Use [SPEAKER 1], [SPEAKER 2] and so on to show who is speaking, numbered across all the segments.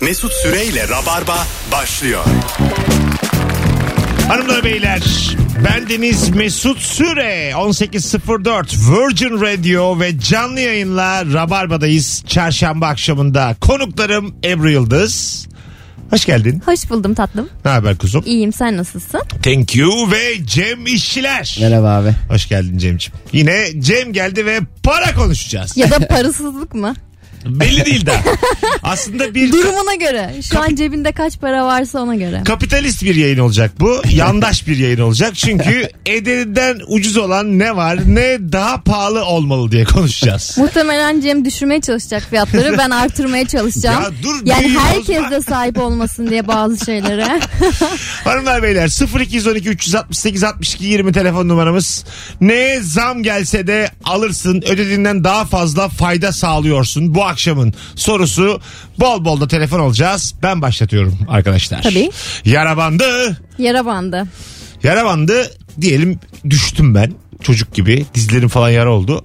[SPEAKER 1] Mesut Süreyle Rabarba başlıyor.
[SPEAKER 2] Hanımlar beyler ben Deniz Mesut Süre 18.04 Virgin Radio ve canlı yayınla Rabarba'dayız çarşamba akşamında konuklarım Ebru Yıldız Hoş geldin.
[SPEAKER 3] Hoş buldum tatlım.
[SPEAKER 2] Ne haber kuzum?
[SPEAKER 3] İyiyim sen nasılsın?
[SPEAKER 2] Thank you ve Cem İşçiler.
[SPEAKER 4] Merhaba abi.
[SPEAKER 2] Hoş geldin Cem'ciğim. Yine Cem geldi ve para konuşacağız.
[SPEAKER 3] Ya da parasızlık mı?
[SPEAKER 2] Belli değil daha. Aslında bir
[SPEAKER 3] Durumuna göre. Şu an cebinde kaç para varsa ona göre.
[SPEAKER 2] kapitalist bir yayın olacak bu. Yandaş bir yayın olacak. Çünkü ederinden ucuz olan ne var ne daha pahalı olmalı diye konuşacağız.
[SPEAKER 3] Muhtemelen Cem düşürmeye çalışacak fiyatları. Ben artırmaya çalışacağım.
[SPEAKER 2] Ya dur,
[SPEAKER 3] yani
[SPEAKER 2] büyüğü
[SPEAKER 3] herkes
[SPEAKER 2] bozma.
[SPEAKER 3] de sahip olmasın diye bazı şeylere.
[SPEAKER 2] Hanımlar beyler 0212 368 62 20 telefon numaramız. Ne zam gelse de alırsın ödediğinden daha fazla fayda sağlıyorsun bu akşamın sorusu. Bol bol da telefon alacağız. Ben başlatıyorum arkadaşlar.
[SPEAKER 3] Tabii.
[SPEAKER 2] Yara bandı.
[SPEAKER 3] Yara bandı.
[SPEAKER 2] Yara bandı diyelim düştüm ben çocuk gibi dizlerim falan yara oldu.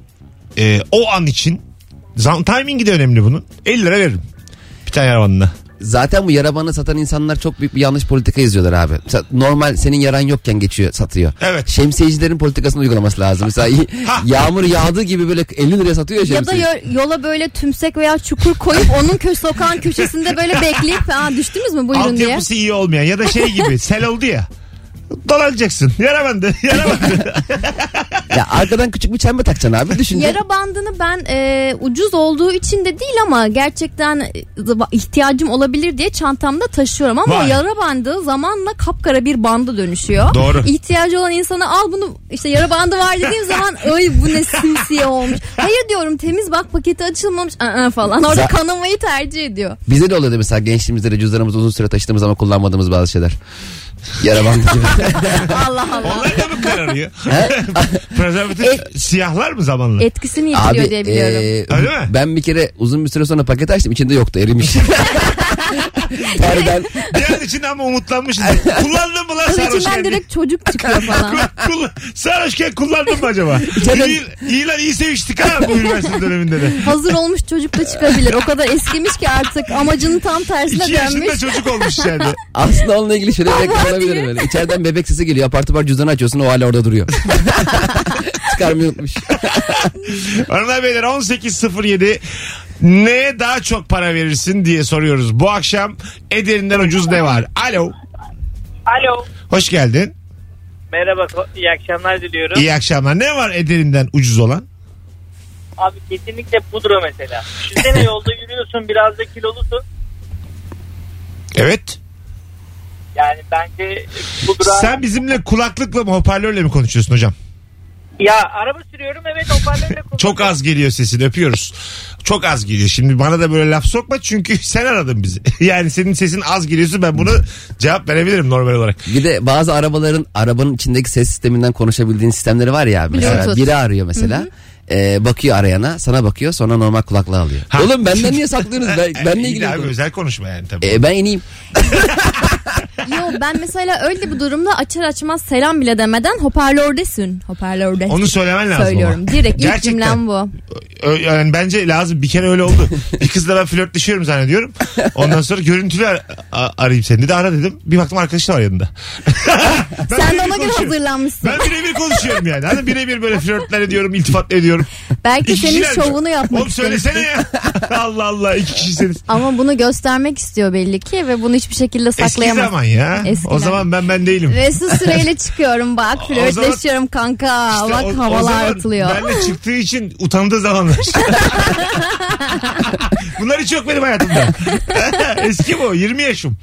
[SPEAKER 2] Ee, o an için zam timingi de önemli bunun. 50 lira veririm. Bir tane yara bandına.
[SPEAKER 4] Zaten bu yara bana satan insanlar çok büyük bir yanlış politika izliyorlar abi. Mesela normal senin yaran yokken geçiyor satıyor.
[SPEAKER 2] Evet.
[SPEAKER 4] Şemsiyecilerin politikasını uygulaması lazım. Mesela y- yağmur yağdığı gibi böyle 50 liraya satıyor ya
[SPEAKER 2] Şey,
[SPEAKER 3] Ya da
[SPEAKER 4] şemsiye.
[SPEAKER 3] yo- yola böyle tümsek veya çukur koyup onun kö sokağın köşesinde böyle bekleyip Aa, düştünüz mü buyurun diye.
[SPEAKER 2] Altyapısı iyi olmayan ya da şey gibi sel oldu ya. Dolanacaksın. Yara bandı. Yara bandı.
[SPEAKER 4] Ya arkadan küçük bir çembe takacaksın abi düşünce.
[SPEAKER 3] Yara bandını ben e, ucuz olduğu için de değil ama gerçekten e, ihtiyacım olabilir diye çantamda taşıyorum ama
[SPEAKER 2] Vay.
[SPEAKER 3] o yara bandı zamanla kapkara bir banda dönüşüyor.
[SPEAKER 2] Doğru.
[SPEAKER 3] İhtiyacı olan insana al bunu işte yara bandı var dediğim zaman ay bu ne simsiye olmuş. Hayır diyorum temiz bak paketi açılmamış "Aa" falan orada
[SPEAKER 4] Za-
[SPEAKER 3] kanamayı tercih ediyor.
[SPEAKER 4] Bize de oluyordu mesela gençliğimizde de cüzdanımızı uzun süre taşıdığımız ama kullanmadığımız bazı şeyler. Yara bandı gibi.
[SPEAKER 3] Allah Allah.
[SPEAKER 2] Onlar da mı kararıyor? Prezervatif siyahlar mı zamanla?
[SPEAKER 3] Etkisini yitiriyor diye biliyorum.
[SPEAKER 4] e,
[SPEAKER 2] Öyle mi?
[SPEAKER 4] ben bir kere uzun bir süre sonra paket açtım içinde yoktu erimiş. Terden
[SPEAKER 2] Diğer için ama umutlanmışız. Kullandın mı lan
[SPEAKER 3] Kız
[SPEAKER 2] sarhoşken?
[SPEAKER 3] içinden direkt çocuk çıkıyor falan.
[SPEAKER 2] Kull- Sarhoşken kullandın mı acaba? iyi, iyi lan iyi seviştik ha bu üniversite döneminde de.
[SPEAKER 3] Hazır olmuş çocuk da çıkabilir. O kadar eskimiş ki artık amacının tam tersine
[SPEAKER 2] İki
[SPEAKER 3] dönmüş.
[SPEAKER 2] yaşında çocuk olmuş yani.
[SPEAKER 4] Aslında onunla ilgili şöyle bir reklam olabilir böyle. İçeriden bebek sesi geliyor. Apar topar cüzdanı açıyorsun o hala orada duruyor. Çıkarmayı unutmuş.
[SPEAKER 2] Hanımlar beyler 18.07 neye daha çok para verirsin diye soruyoruz. Bu akşam ederinden ucuz ne var? Alo.
[SPEAKER 5] Alo.
[SPEAKER 2] Hoş geldin.
[SPEAKER 5] Merhaba. ko- iyi akşamlar diliyorum.
[SPEAKER 2] İyi akşamlar. Ne var ederinden ucuz olan?
[SPEAKER 5] Abi kesinlikle pudra mesela. Düşünsene yolda yürüyorsun biraz da kilolusun.
[SPEAKER 2] Evet.
[SPEAKER 5] Yani bence pudra...
[SPEAKER 2] Sen bizimle kulaklıkla mı hoparlörle mi konuşuyorsun hocam?
[SPEAKER 5] Ya araba sürüyorum evet hoparlörle kullanıyorum.
[SPEAKER 2] Çok az geliyor sesin öpüyoruz. Çok az geliyor. Şimdi bana da böyle laf sokma çünkü sen aradın bizi. Yani senin sesin az geliyorsa ben buna cevap verebilirim normal olarak.
[SPEAKER 4] Bir de bazı arabaların arabanın içindeki ses sisteminden konuşabildiğin sistemleri var ya. Mesela
[SPEAKER 3] Bluetooth.
[SPEAKER 4] biri arıyor mesela. Ee, bakıyor arayana sana bakıyor sonra normal kulaklığı alıyor.
[SPEAKER 2] Ha.
[SPEAKER 4] Oğlum benden niye saklıyorsunuz? Ben, benle
[SPEAKER 2] İyi de
[SPEAKER 4] ilgili.
[SPEAKER 2] abi e, özel konuşma yani tabii.
[SPEAKER 4] Ee, ben ineyim.
[SPEAKER 3] Yo ben mesela öyle bir durumda açar açmaz selam bile demeden hoparlördesin. Hoparlörde.
[SPEAKER 2] Onu söylemen lazım
[SPEAKER 3] söylüyorum.
[SPEAKER 2] ama.
[SPEAKER 3] Direkt ilk
[SPEAKER 2] Gerçekten.
[SPEAKER 3] cümlem bu.
[SPEAKER 2] Ö- yani bence lazım. Bir kere öyle oldu. Bir kızla ben flörtleşiyorum zannediyorum. Ondan sonra görüntülü ar- a- arayayım seni dedi. Ara dedim. Bir baktım arkadaşı da var yanında. Ben
[SPEAKER 3] Sen de
[SPEAKER 2] birebir
[SPEAKER 3] ona göre
[SPEAKER 2] konuşuyorum.
[SPEAKER 3] hazırlanmışsın.
[SPEAKER 2] Ben birebir konuşuyorum yani. Hani birebir böyle flörtler ediyorum, iltifat ediyorum.
[SPEAKER 3] Belki
[SPEAKER 2] İki
[SPEAKER 3] E, senin
[SPEAKER 2] kişiler mi?
[SPEAKER 3] şovunu yapmak
[SPEAKER 2] Oğlum
[SPEAKER 3] istemiş.
[SPEAKER 2] söylesene ya. Allah Allah iki kişisiniz.
[SPEAKER 3] Ama bunu göstermek istiyor belli ki ve bunu hiçbir şekilde
[SPEAKER 2] Eski
[SPEAKER 3] saklayamaz.
[SPEAKER 2] zaman ya.
[SPEAKER 3] Eskiden.
[SPEAKER 2] O zaman ben ben değilim.
[SPEAKER 3] Mesut süreyle çıkıyorum bak flörtleşiyorum kanka
[SPEAKER 2] İşte
[SPEAKER 3] bak
[SPEAKER 2] o- o
[SPEAKER 3] havalar
[SPEAKER 2] zaman
[SPEAKER 3] atılıyor.
[SPEAKER 2] Benle çıktığı için utandığı zamanlar. Bunlar hiç yok benim hayatımda. Eski bu 20 yaşım.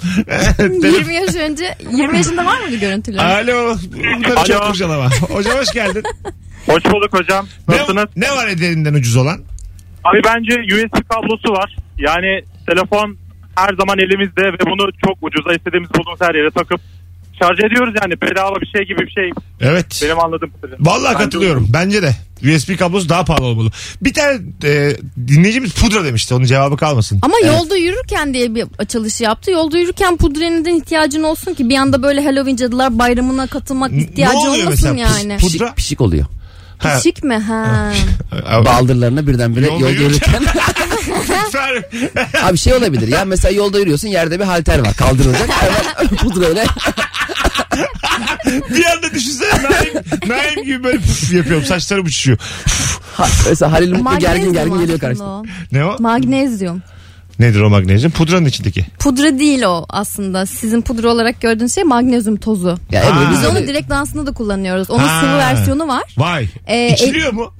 [SPEAKER 3] 20 yaş önce 20 yaşında var mıydı görüntüler?
[SPEAKER 2] Alo. Bunları
[SPEAKER 6] Alo.
[SPEAKER 2] çok kurcalama. Hocam hoş geldin.
[SPEAKER 6] Hoş bulduk hocam.
[SPEAKER 2] ne,
[SPEAKER 6] Nasılsınız?
[SPEAKER 2] ne var ederinden ucuz olan?
[SPEAKER 6] Abi bence USB kablosu var. Yani telefon her zaman elimizde ve bunu çok ucuza istediğimiz bulduğumuz her yere takıp şarj ediyoruz yani bedava bir şey gibi bir şey
[SPEAKER 2] Evet.
[SPEAKER 6] benim anladığım kadarıyla.
[SPEAKER 2] Vallahi
[SPEAKER 6] Bence
[SPEAKER 2] katılıyorum. Bence de. USB kablosu daha pahalı olmalı. Bir tane e, dinleyicimiz pudra demişti. Onun cevabı kalmasın.
[SPEAKER 3] Ama yolda yürürken diye bir açılışı yaptı. Yolda yürürken pudra neden ihtiyacın olsun ki? Bir anda böyle Halloween cadılar bayramına katılmak
[SPEAKER 2] N- ne
[SPEAKER 3] ihtiyacı
[SPEAKER 2] oluyor
[SPEAKER 3] olmasın
[SPEAKER 2] mesela?
[SPEAKER 3] yani.
[SPEAKER 2] Pus- Pudra?
[SPEAKER 4] Pişik, pişik oluyor.
[SPEAKER 2] Ha, e,
[SPEAKER 3] Şık mi? Ha.
[SPEAKER 2] a- a-
[SPEAKER 4] Baldırlarına birdenbire
[SPEAKER 2] Yolda
[SPEAKER 4] yol
[SPEAKER 2] yürürken-
[SPEAKER 4] gelirken
[SPEAKER 2] Lütfen.
[SPEAKER 4] Abi şey olabilir ya mesela yolda yürüyorsun yerde bir halter var kaldırılacak. Hemen pudrayla
[SPEAKER 2] bir anda düşünsene Naim, Naim gibi böyle püf yapıyorum. Saçlarım uçuşuyor. Püf.
[SPEAKER 4] Ha, mesela Halil Mutlu gergin
[SPEAKER 3] Magnezyum
[SPEAKER 4] gergin geliyor
[SPEAKER 3] aslında
[SPEAKER 4] karşısına.
[SPEAKER 3] o.
[SPEAKER 2] Ne o?
[SPEAKER 3] Magnezyum.
[SPEAKER 2] Nedir o magnezyum? Pudranın içindeki.
[SPEAKER 3] Pudra değil o aslında. Sizin pudra olarak gördüğünüz şey magnezyum tozu.
[SPEAKER 4] Ya
[SPEAKER 2] Ha.
[SPEAKER 4] Ebru,
[SPEAKER 3] Biz
[SPEAKER 4] biz
[SPEAKER 3] onu
[SPEAKER 4] öyle-
[SPEAKER 3] direkt dansında da kullanıyoruz. Onun
[SPEAKER 2] Ha.
[SPEAKER 3] sıvı versiyonu var.
[SPEAKER 2] Vay.
[SPEAKER 3] Ee,
[SPEAKER 2] İçiliyor mu?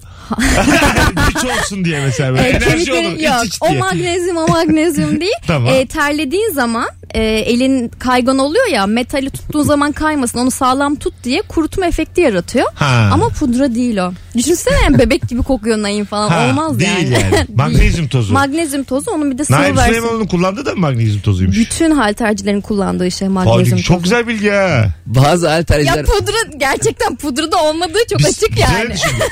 [SPEAKER 2] Güç olsun diye mesela. Böyle.
[SPEAKER 3] Ee,
[SPEAKER 2] Enerji
[SPEAKER 3] kemiklerin-
[SPEAKER 2] olur.
[SPEAKER 3] yok.
[SPEAKER 2] iç iç
[SPEAKER 3] o
[SPEAKER 2] diye.
[SPEAKER 3] magnezyum o magnezyum değil.
[SPEAKER 2] Tamam.
[SPEAKER 3] Ee, terlediğin zaman e, elin kaygan oluyor ya metali tuttuğun zaman kaymasın onu sağlam tut diye kurutma efekti yaratıyor.
[SPEAKER 2] Ha.
[SPEAKER 3] Ama pudra değil o. Düşünsene bebek gibi kokuyor nayın falan
[SPEAKER 2] Ha,
[SPEAKER 3] olmaz
[SPEAKER 2] değil
[SPEAKER 3] yani.
[SPEAKER 2] yani. Magnezyum tozu.
[SPEAKER 3] magnezyum tozu onun bir de sıvı
[SPEAKER 2] Naim
[SPEAKER 3] versiyonu.
[SPEAKER 2] Süleymanoğlu'nun kullandığı da mı magnezyum tozuymuş?
[SPEAKER 3] Bütün haltercilerin kullandığı şey
[SPEAKER 2] Vay,
[SPEAKER 3] magnezyum tozu.
[SPEAKER 2] çok güzel bilgi ha.
[SPEAKER 4] bazı halterciler
[SPEAKER 3] Ya pudra gerçekten pudra da olmadığı çok
[SPEAKER 2] Biz-
[SPEAKER 3] açık
[SPEAKER 2] güzel şey
[SPEAKER 3] yani.
[SPEAKER 2] düşündük.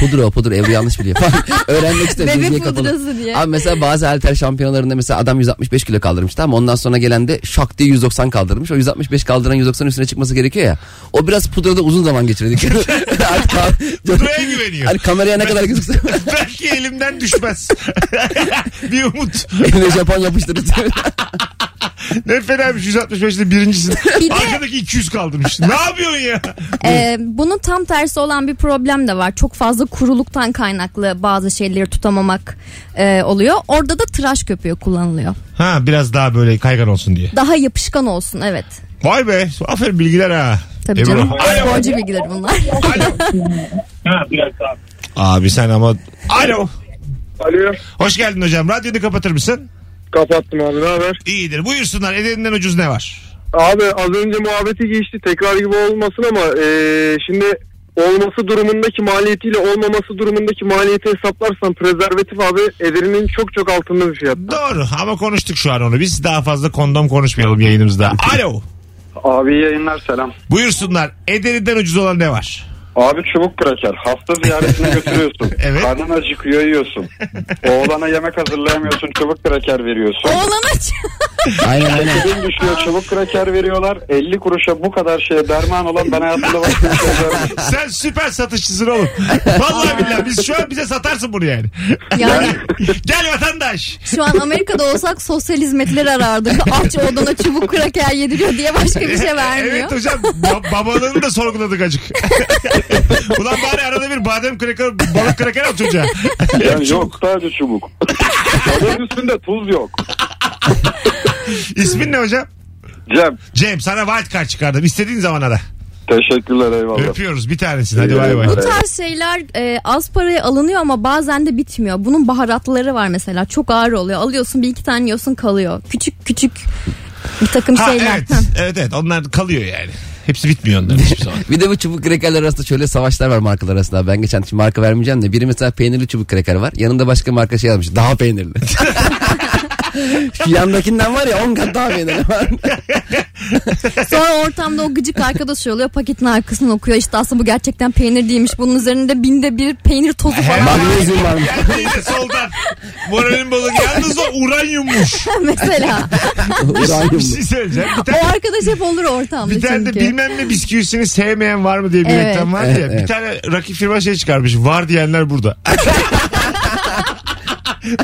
[SPEAKER 4] pudra o pudra Ebru yanlış biliyor falan. Öğrenmek istemiyor.
[SPEAKER 3] Bebek
[SPEAKER 4] bilgiye kapalı.
[SPEAKER 3] pudrası diye.
[SPEAKER 4] Abi mesela bazı halter şampiyonalarında mesela adam 165 kilo kaldırmış tamam mı? ondan sonra gelen de şak diye 190 kaldırmış. O 165 kaldıran 190 üstüne çıkması gerekiyor ya. O biraz pudrada uzun zaman geçirdik. Artık ka-
[SPEAKER 2] Pudraya güveniyor.
[SPEAKER 4] Hani kameraya ne kadar gözükse
[SPEAKER 2] Belki elimden düşmez. bir umut.
[SPEAKER 4] eline Japon yapıştırır.
[SPEAKER 2] Ne fenaymış 165'te birincisin.
[SPEAKER 3] Bir de-
[SPEAKER 2] Arkadaki 200 kaldırmış. Ne yapıyorsun ya?
[SPEAKER 3] Ee, bunun tam tersi olan bir problem de var. Çok fazla kuruluktan kaynaklı bazı şeyleri tutamamak e, oluyor. Orada da tıraş köpüğü kullanılıyor.
[SPEAKER 2] Ha biraz daha böyle kaygan olsun diye.
[SPEAKER 3] Daha yapışkan olsun evet.
[SPEAKER 2] Vay be. Aferin bilgiler ha.
[SPEAKER 3] Tabii
[SPEAKER 2] Ebru.
[SPEAKER 3] canım.
[SPEAKER 2] Alo.
[SPEAKER 3] Sporcu bilgileri bunlar.
[SPEAKER 2] Abi sen ama. Alo.
[SPEAKER 7] Alo.
[SPEAKER 2] Hoş geldin hocam. Radyonu kapatır mısın?
[SPEAKER 7] Kapattım abi ne haber?
[SPEAKER 2] İyidir. Buyursunlar. Edeninden ucuz ne var?
[SPEAKER 7] Abi az önce muhabbeti geçti tekrar gibi olmasın ama eee, şimdi olması durumundaki maliyetiyle olmaması durumundaki maliyeti hesaplarsan prezervatif abi ederinin çok çok altında bir fiyat.
[SPEAKER 2] Doğru ama konuştuk şu an onu. Biz daha fazla kondom konuşmayalım yayınımızda. Alo.
[SPEAKER 8] Abi yayınlar selam.
[SPEAKER 2] Buyursunlar. Ederinden ucuz olan ne var?
[SPEAKER 8] Abi çubuk kraker. Hasta ziyaretine götürüyorsun.
[SPEAKER 2] Evet.
[SPEAKER 8] Karnın acıkıyor yiyorsun. Oğlana yemek hazırlayamıyorsun çubuk kraker veriyorsun.
[SPEAKER 3] Oğlan aç.
[SPEAKER 4] aynen aynen.
[SPEAKER 8] Kedin düşüyor çubuk kraker veriyorlar. 50 kuruşa bu kadar şeye derman olan ben hayatımda başka bir şey görmedim.
[SPEAKER 2] Sen süper satışçısın oğlum. Vallahi billahi biz şu an bize satarsın bunu yani.
[SPEAKER 3] Yani
[SPEAKER 2] Gel vatandaş.
[SPEAKER 3] şu an Amerika'da olsak sosyal hizmetleri arardık. Aç odana çubuk kraker yediriyor diye başka bir şey vermiyor.
[SPEAKER 2] Evet hocam ba- babalığını da sorguladık acık. Ulan bari arada bir badem kraker, balık kraker al çocuğa.
[SPEAKER 8] Yani yok sadece çubuk. Onun üstünde tuz yok.
[SPEAKER 2] İsmin ne hocam?
[SPEAKER 8] Cem
[SPEAKER 2] Cem sana wild card çıkardım. İstediğin zamana da.
[SPEAKER 8] teşekkürler eyvallah.
[SPEAKER 2] Öpüyoruz bir tanesini. Hadi bay bay.
[SPEAKER 3] Bu tarz şeyler e, az paraya alınıyor ama bazen de bitmiyor. Bunun baharatları var mesela. Çok ağır oluyor. Alıyorsun bir iki tane yiyorsun kalıyor. Küçük küçük bir takım
[SPEAKER 2] Ha,
[SPEAKER 3] şeyler.
[SPEAKER 2] evet.
[SPEAKER 3] Heh.
[SPEAKER 2] evet evet onlar kalıyor yani. Hepsi bitmiyor onların hiçbir zaman.
[SPEAKER 4] Bir de bu çubuk krekerler arasında şöyle savaşlar var markalar arasında. Ben geçen şimdi marka vermeyeceğim de biri mesela peynirli çubuk kreker var. Yanında başka marka şey yazmış. Daha peynirli. Şu yandakinden var ya 10 kat daha peynirli var.
[SPEAKER 3] Sonra ortamda o gıcık arkadaş şey oluyor paketin arkasını okuyor. İşte aslında bu gerçekten peynir değilmiş. Bunun üzerinde binde bir peynir tozu falan var
[SPEAKER 4] Magnezyum var.
[SPEAKER 2] Geldi yine soldan. Moralim bozuk. Yalnız o uranyummuş.
[SPEAKER 3] mesela.
[SPEAKER 4] Uranyum.
[SPEAKER 2] Bir şey söyleyeceğim. Bir
[SPEAKER 3] O
[SPEAKER 2] tane,
[SPEAKER 3] arkadaş hep olur ortamda
[SPEAKER 2] bir tane de
[SPEAKER 3] çünkü.
[SPEAKER 2] bilmem ne bisküvisini sevmeyen var mı diye bir
[SPEAKER 3] Evet.
[SPEAKER 2] reklam var ya.
[SPEAKER 4] Evet,
[SPEAKER 2] Bir
[SPEAKER 4] evet.
[SPEAKER 2] tane rakip firma şey çıkarmış. Var diyenler burada.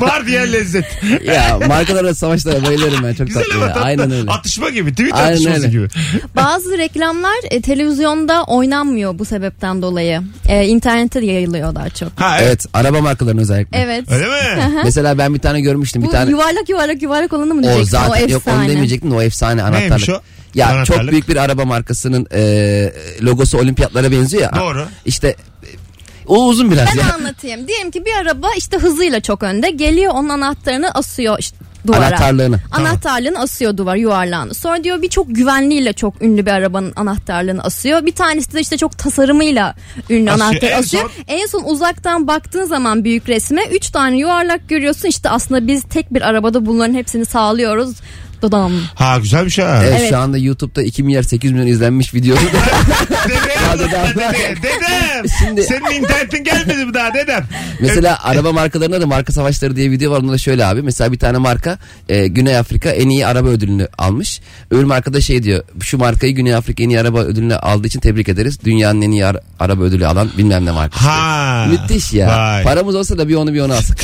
[SPEAKER 2] var diyen lezzet.
[SPEAKER 4] ya markalar arası savaşlara bayılırım ben. Çok
[SPEAKER 2] Güzel
[SPEAKER 4] tatlı.
[SPEAKER 2] ama
[SPEAKER 4] ya.
[SPEAKER 2] tatlı.
[SPEAKER 4] Aynen öyle.
[SPEAKER 2] Atışma gibi. Tweet
[SPEAKER 4] Aynen
[SPEAKER 2] atışması
[SPEAKER 4] öyle.
[SPEAKER 2] gibi.
[SPEAKER 3] Bazı reklamlar e, televizyonda oynanmıyor bu sebepten dolayı. E, internette de yayılıyor daha çok.
[SPEAKER 2] Ha evet.
[SPEAKER 4] Evet araba markalarının özellikle.
[SPEAKER 3] Evet.
[SPEAKER 2] Öyle mi?
[SPEAKER 4] Mesela ben bir tane görmüştüm. Bir
[SPEAKER 3] Bu
[SPEAKER 4] tane
[SPEAKER 3] yuvarlak yuvarlak yuvarlak olanı mı
[SPEAKER 4] o
[SPEAKER 3] diyeceksin? O,
[SPEAKER 4] zaten
[SPEAKER 3] efsane.
[SPEAKER 4] yok onu demeyecektim de o efsane anahtarlık.
[SPEAKER 2] Neymiş o?
[SPEAKER 4] Ya
[SPEAKER 2] Anahtarlık.
[SPEAKER 4] çok büyük bir araba markasının e, logosu olimpiyatlara benziyor ya.
[SPEAKER 2] Doğru.
[SPEAKER 4] İşte e, o uzun biraz
[SPEAKER 3] Ben
[SPEAKER 4] ya.
[SPEAKER 3] anlatayım. Diyelim ki bir araba işte hızıyla çok önde. Geliyor onun anahtarını asıyor işte duvara.
[SPEAKER 4] Anahtarlığını.
[SPEAKER 3] Anahtarlığını asıyor duvar yuvarlağını. Sonra diyor bir çok güvenliyle çok ünlü bir arabanın anahtarlığını asıyor. Bir tanesi de işte çok tasarımıyla ünlü
[SPEAKER 2] Asıyor.
[SPEAKER 3] anahtarı
[SPEAKER 2] En
[SPEAKER 3] asıyor.
[SPEAKER 2] son-
[SPEAKER 3] En son uzaktan baktığın zaman büyük resme 3 tane yuvarlak görüyorsun. İşte aslında biz tek bir arabada bunların hepsini sağlıyoruz. Dadam.
[SPEAKER 2] Ha güzelmiş ha.
[SPEAKER 4] Evet,
[SPEAKER 3] Evet.
[SPEAKER 4] Şu anda YouTube'da 2 milyar 8 milyon izlenmiş video.
[SPEAKER 2] Dedem.
[SPEAKER 4] Ya dedem.
[SPEAKER 2] Dedem. Dedem.
[SPEAKER 4] Şimdi-
[SPEAKER 2] Senin internetin gelmedi mi daha dedem?
[SPEAKER 4] mesela araba markalarına da marka savaşları diye video var. Onda da şöyle abi. Mesela bir tane marka e, Güney Afrika en iyi araba ödülünü almış. Öbür marka da şey diyor. Şu markayı Güney Afrika en iyi araba ödülünü aldığı için tebrik ederiz. Dünyanın en iyi ara- araba ödülü alan bilmem ne markası.
[SPEAKER 2] Ha.
[SPEAKER 4] Müthiş ya.
[SPEAKER 2] Vay.
[SPEAKER 4] Paramız olsa da bir onu bir onu alsak.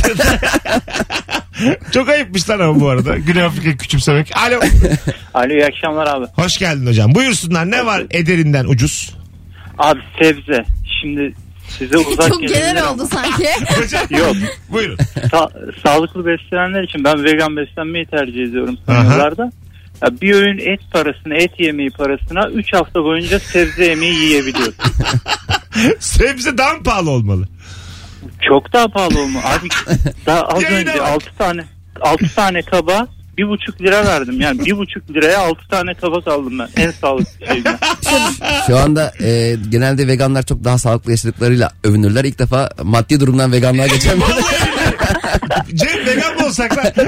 [SPEAKER 2] Çok ayıpmış lan ama bu arada. Güney Afrika küçümsemek. Alo.
[SPEAKER 5] Alo iyi akşamlar abi.
[SPEAKER 2] Hoş geldin hocam. Buyursunlar ne var ederinden ucuz?
[SPEAKER 5] Abi sebze. Şimdi size uzak
[SPEAKER 3] Çok genel oldu sanki.
[SPEAKER 2] Hocam
[SPEAKER 5] Yok.
[SPEAKER 2] buyurun.
[SPEAKER 5] Sa- sağlıklı beslenenler için ben vegan beslenmeyi tercih ediyorum
[SPEAKER 2] Aha.
[SPEAKER 5] sanırlarda. Ya bir öğün et parasına, et yemeği parasına 3 hafta boyunca sebze yemeği yiyebiliyorsun.
[SPEAKER 2] Sebze daha mı pahalı olmalı?
[SPEAKER 5] Çok daha pahalı olma. Abi daha az
[SPEAKER 2] Yayına
[SPEAKER 5] önce
[SPEAKER 2] bak.
[SPEAKER 5] 6 tane 6 tane kaba bir buçuk lira verdim. Yani bir buçuk liraya 6 tane tabak aldım ben. En sağlıklı şey şeyden.
[SPEAKER 4] Şu anda e, genelde veganlar çok daha sağlıklı yaşadıklarıyla övünürler. İlk defa maddi durumdan veganlığa geçen
[SPEAKER 2] Cem vegan mı olsak lan?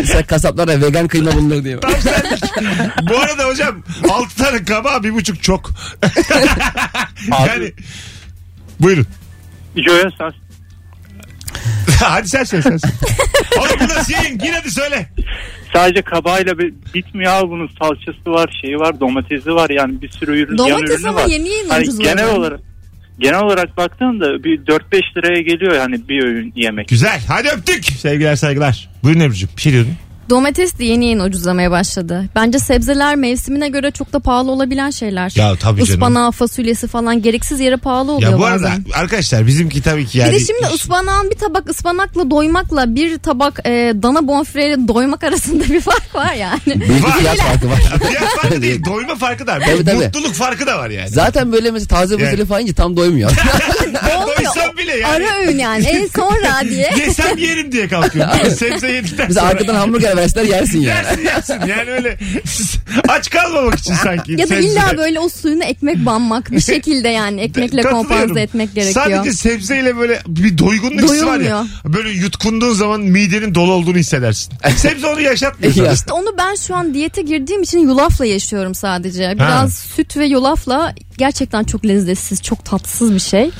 [SPEAKER 4] mesela kasaplar da vegan kıyma bulunur diyor.
[SPEAKER 2] Tam senlik. Bu arada hocam 6 tane kaba bir buçuk çok. yani buyurun.
[SPEAKER 5] Joya sen
[SPEAKER 2] hadi sen söyle sen söyle. Oğlum bu nasıl yayın? Gir hadi söyle.
[SPEAKER 5] sadece kabayla bi- bitmiyor abi bunun salçası var, şeyi var, domatesi var. Yani bir sürü ürün, yan
[SPEAKER 3] Domates
[SPEAKER 5] ürünü
[SPEAKER 3] ama
[SPEAKER 5] var.
[SPEAKER 3] yemeği mi
[SPEAKER 5] Hani
[SPEAKER 3] ucuz
[SPEAKER 5] genel
[SPEAKER 3] olacak?
[SPEAKER 5] olarak genel olarak baktığında bir 4-5 liraya geliyor yani bir öğün yemek.
[SPEAKER 2] Güzel. Hadi öptük. Sevgiler saygılar. Buyurun Ebru'cum. Bir şey diyordun.
[SPEAKER 3] Domates de yeni yeni ucuzlamaya başladı. Bence sebzeler mevsimine göre çok da pahalı olabilen şeyler.
[SPEAKER 2] Ya tabii canım.
[SPEAKER 3] Ispanağı, fasulyesi falan gereksiz yere pahalı oluyor
[SPEAKER 2] Ya bu
[SPEAKER 3] bazen.
[SPEAKER 2] arada arkadaşlar bizimki tabii ki yani.
[SPEAKER 3] bir de şimdi ıspanağın bir tabak ıspanakla doymakla bir tabak e, dana bonfireyle doymak arasında bir fark var yani.
[SPEAKER 4] Büyük bir fiyat farkı var.
[SPEAKER 2] Fiyat farkı değil. Doyma farkı da var.
[SPEAKER 4] Tabii, tabii.
[SPEAKER 2] Mutluluk farkı da var yani.
[SPEAKER 4] Zaten böyle mesela taze fasulye
[SPEAKER 2] Yani.
[SPEAKER 4] falan yiyince tam doymuyor.
[SPEAKER 2] Doysam bile yani.
[SPEAKER 3] Ara öğün yani en sonra diye.
[SPEAKER 2] Yesem yerim diye kalkıyorum. Böyle Sebze yedikten
[SPEAKER 4] mesela
[SPEAKER 2] sonra.
[SPEAKER 4] arkadan hamburger verseler yersin yani.
[SPEAKER 2] Yersin yersin. Yani öyle aç kalmamak için sanki.
[SPEAKER 3] Ya da
[SPEAKER 2] sebze.
[SPEAKER 3] illa böyle o suyunu ekmek banmak bir şekilde yani ekmekle
[SPEAKER 2] Katılıyorum.
[SPEAKER 3] kompanze etmek gerekiyor.
[SPEAKER 2] Sadece sebzeyle böyle bir doygunluk hissi var ya. Böyle yutkunduğun zaman midenin dolu olduğunu hissedersin. Sebze onu yaşatmıyor. sana.
[SPEAKER 4] Ya.
[SPEAKER 3] İşte onu ben şu an diyete girdiğim için yulafla yaşıyorum sadece. Biraz süt ve yulafla gerçekten çok lezzetsiz, çok tatsız bir şey.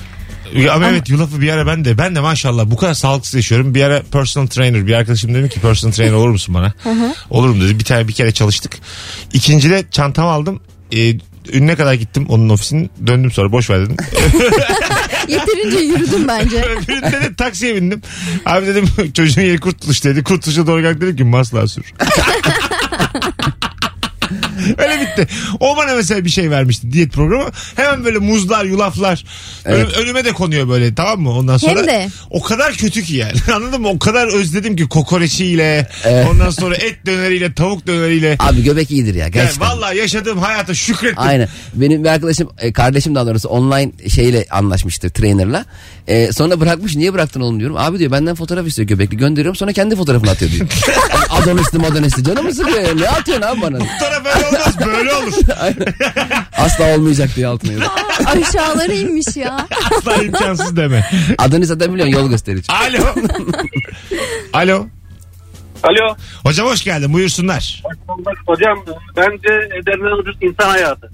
[SPEAKER 2] Ya Ama evet yulafı bir ara ben de ben de maşallah bu kadar sağlıksız yaşıyorum. Bir ara personal trainer bir arkadaşım dedi ki personal trainer olur musun bana? Olurum dedi. Bir tane bir kere çalıştık. İkincide çantamı aldım. Ee, ününe kadar gittim onun ofisinin. Döndüm sonra boş ver dedim.
[SPEAKER 3] Yeterince yürüdüm bence.
[SPEAKER 2] Öbüründe de taksiye bindim. Abi dedim çocuğun yeri kurtuluş dedi. Kurtuluşa doğru geldi dedim ki masla sür. Öyle bitti. O bana mesela bir şey vermişti diyet programı. Hemen böyle muzlar, yulaflar Ö- önüme de konuyor böyle tamam mı? Ondan sonra
[SPEAKER 3] Hem de.
[SPEAKER 2] o kadar kötü ki yani. Anladın mı? O kadar özledim ki kokoreçiyle, ondan sonra et döneriyle, tavuk döneriyle.
[SPEAKER 4] Abi göbek iyidir ya
[SPEAKER 2] Yani
[SPEAKER 4] gerçekten.
[SPEAKER 2] vallahi yaşadığım hayata şükrettim.
[SPEAKER 4] Aynen. Benim bir arkadaşım, e, kardeşim daha doğrusu online şeyle anlaşmıştı trainerla. E, sonra bırakmış. Niye bıraktın oğlum diyorum. Abi diyor benden fotoğraf istiyor göbekli. Gönderiyorum sonra kendi fotoğrafını atıyor diyor. Adonisli madonisli. Canımı sıkıyor. ya. Ne atıyorsun abi bana?
[SPEAKER 2] Bu taraf böyle olmaz böyle olur.
[SPEAKER 4] Asla olmayacak diye altına yazıyor.
[SPEAKER 3] Aşağılara inmiş ya.
[SPEAKER 2] Asla imkansız deme.
[SPEAKER 4] Adonis zaten biliyorsun yol gösterici.
[SPEAKER 2] Alo. Alo.
[SPEAKER 6] Alo.
[SPEAKER 2] Hocam hoş geldin buyursunlar.
[SPEAKER 6] Hocam bence ederinden ucuz insan hayatı.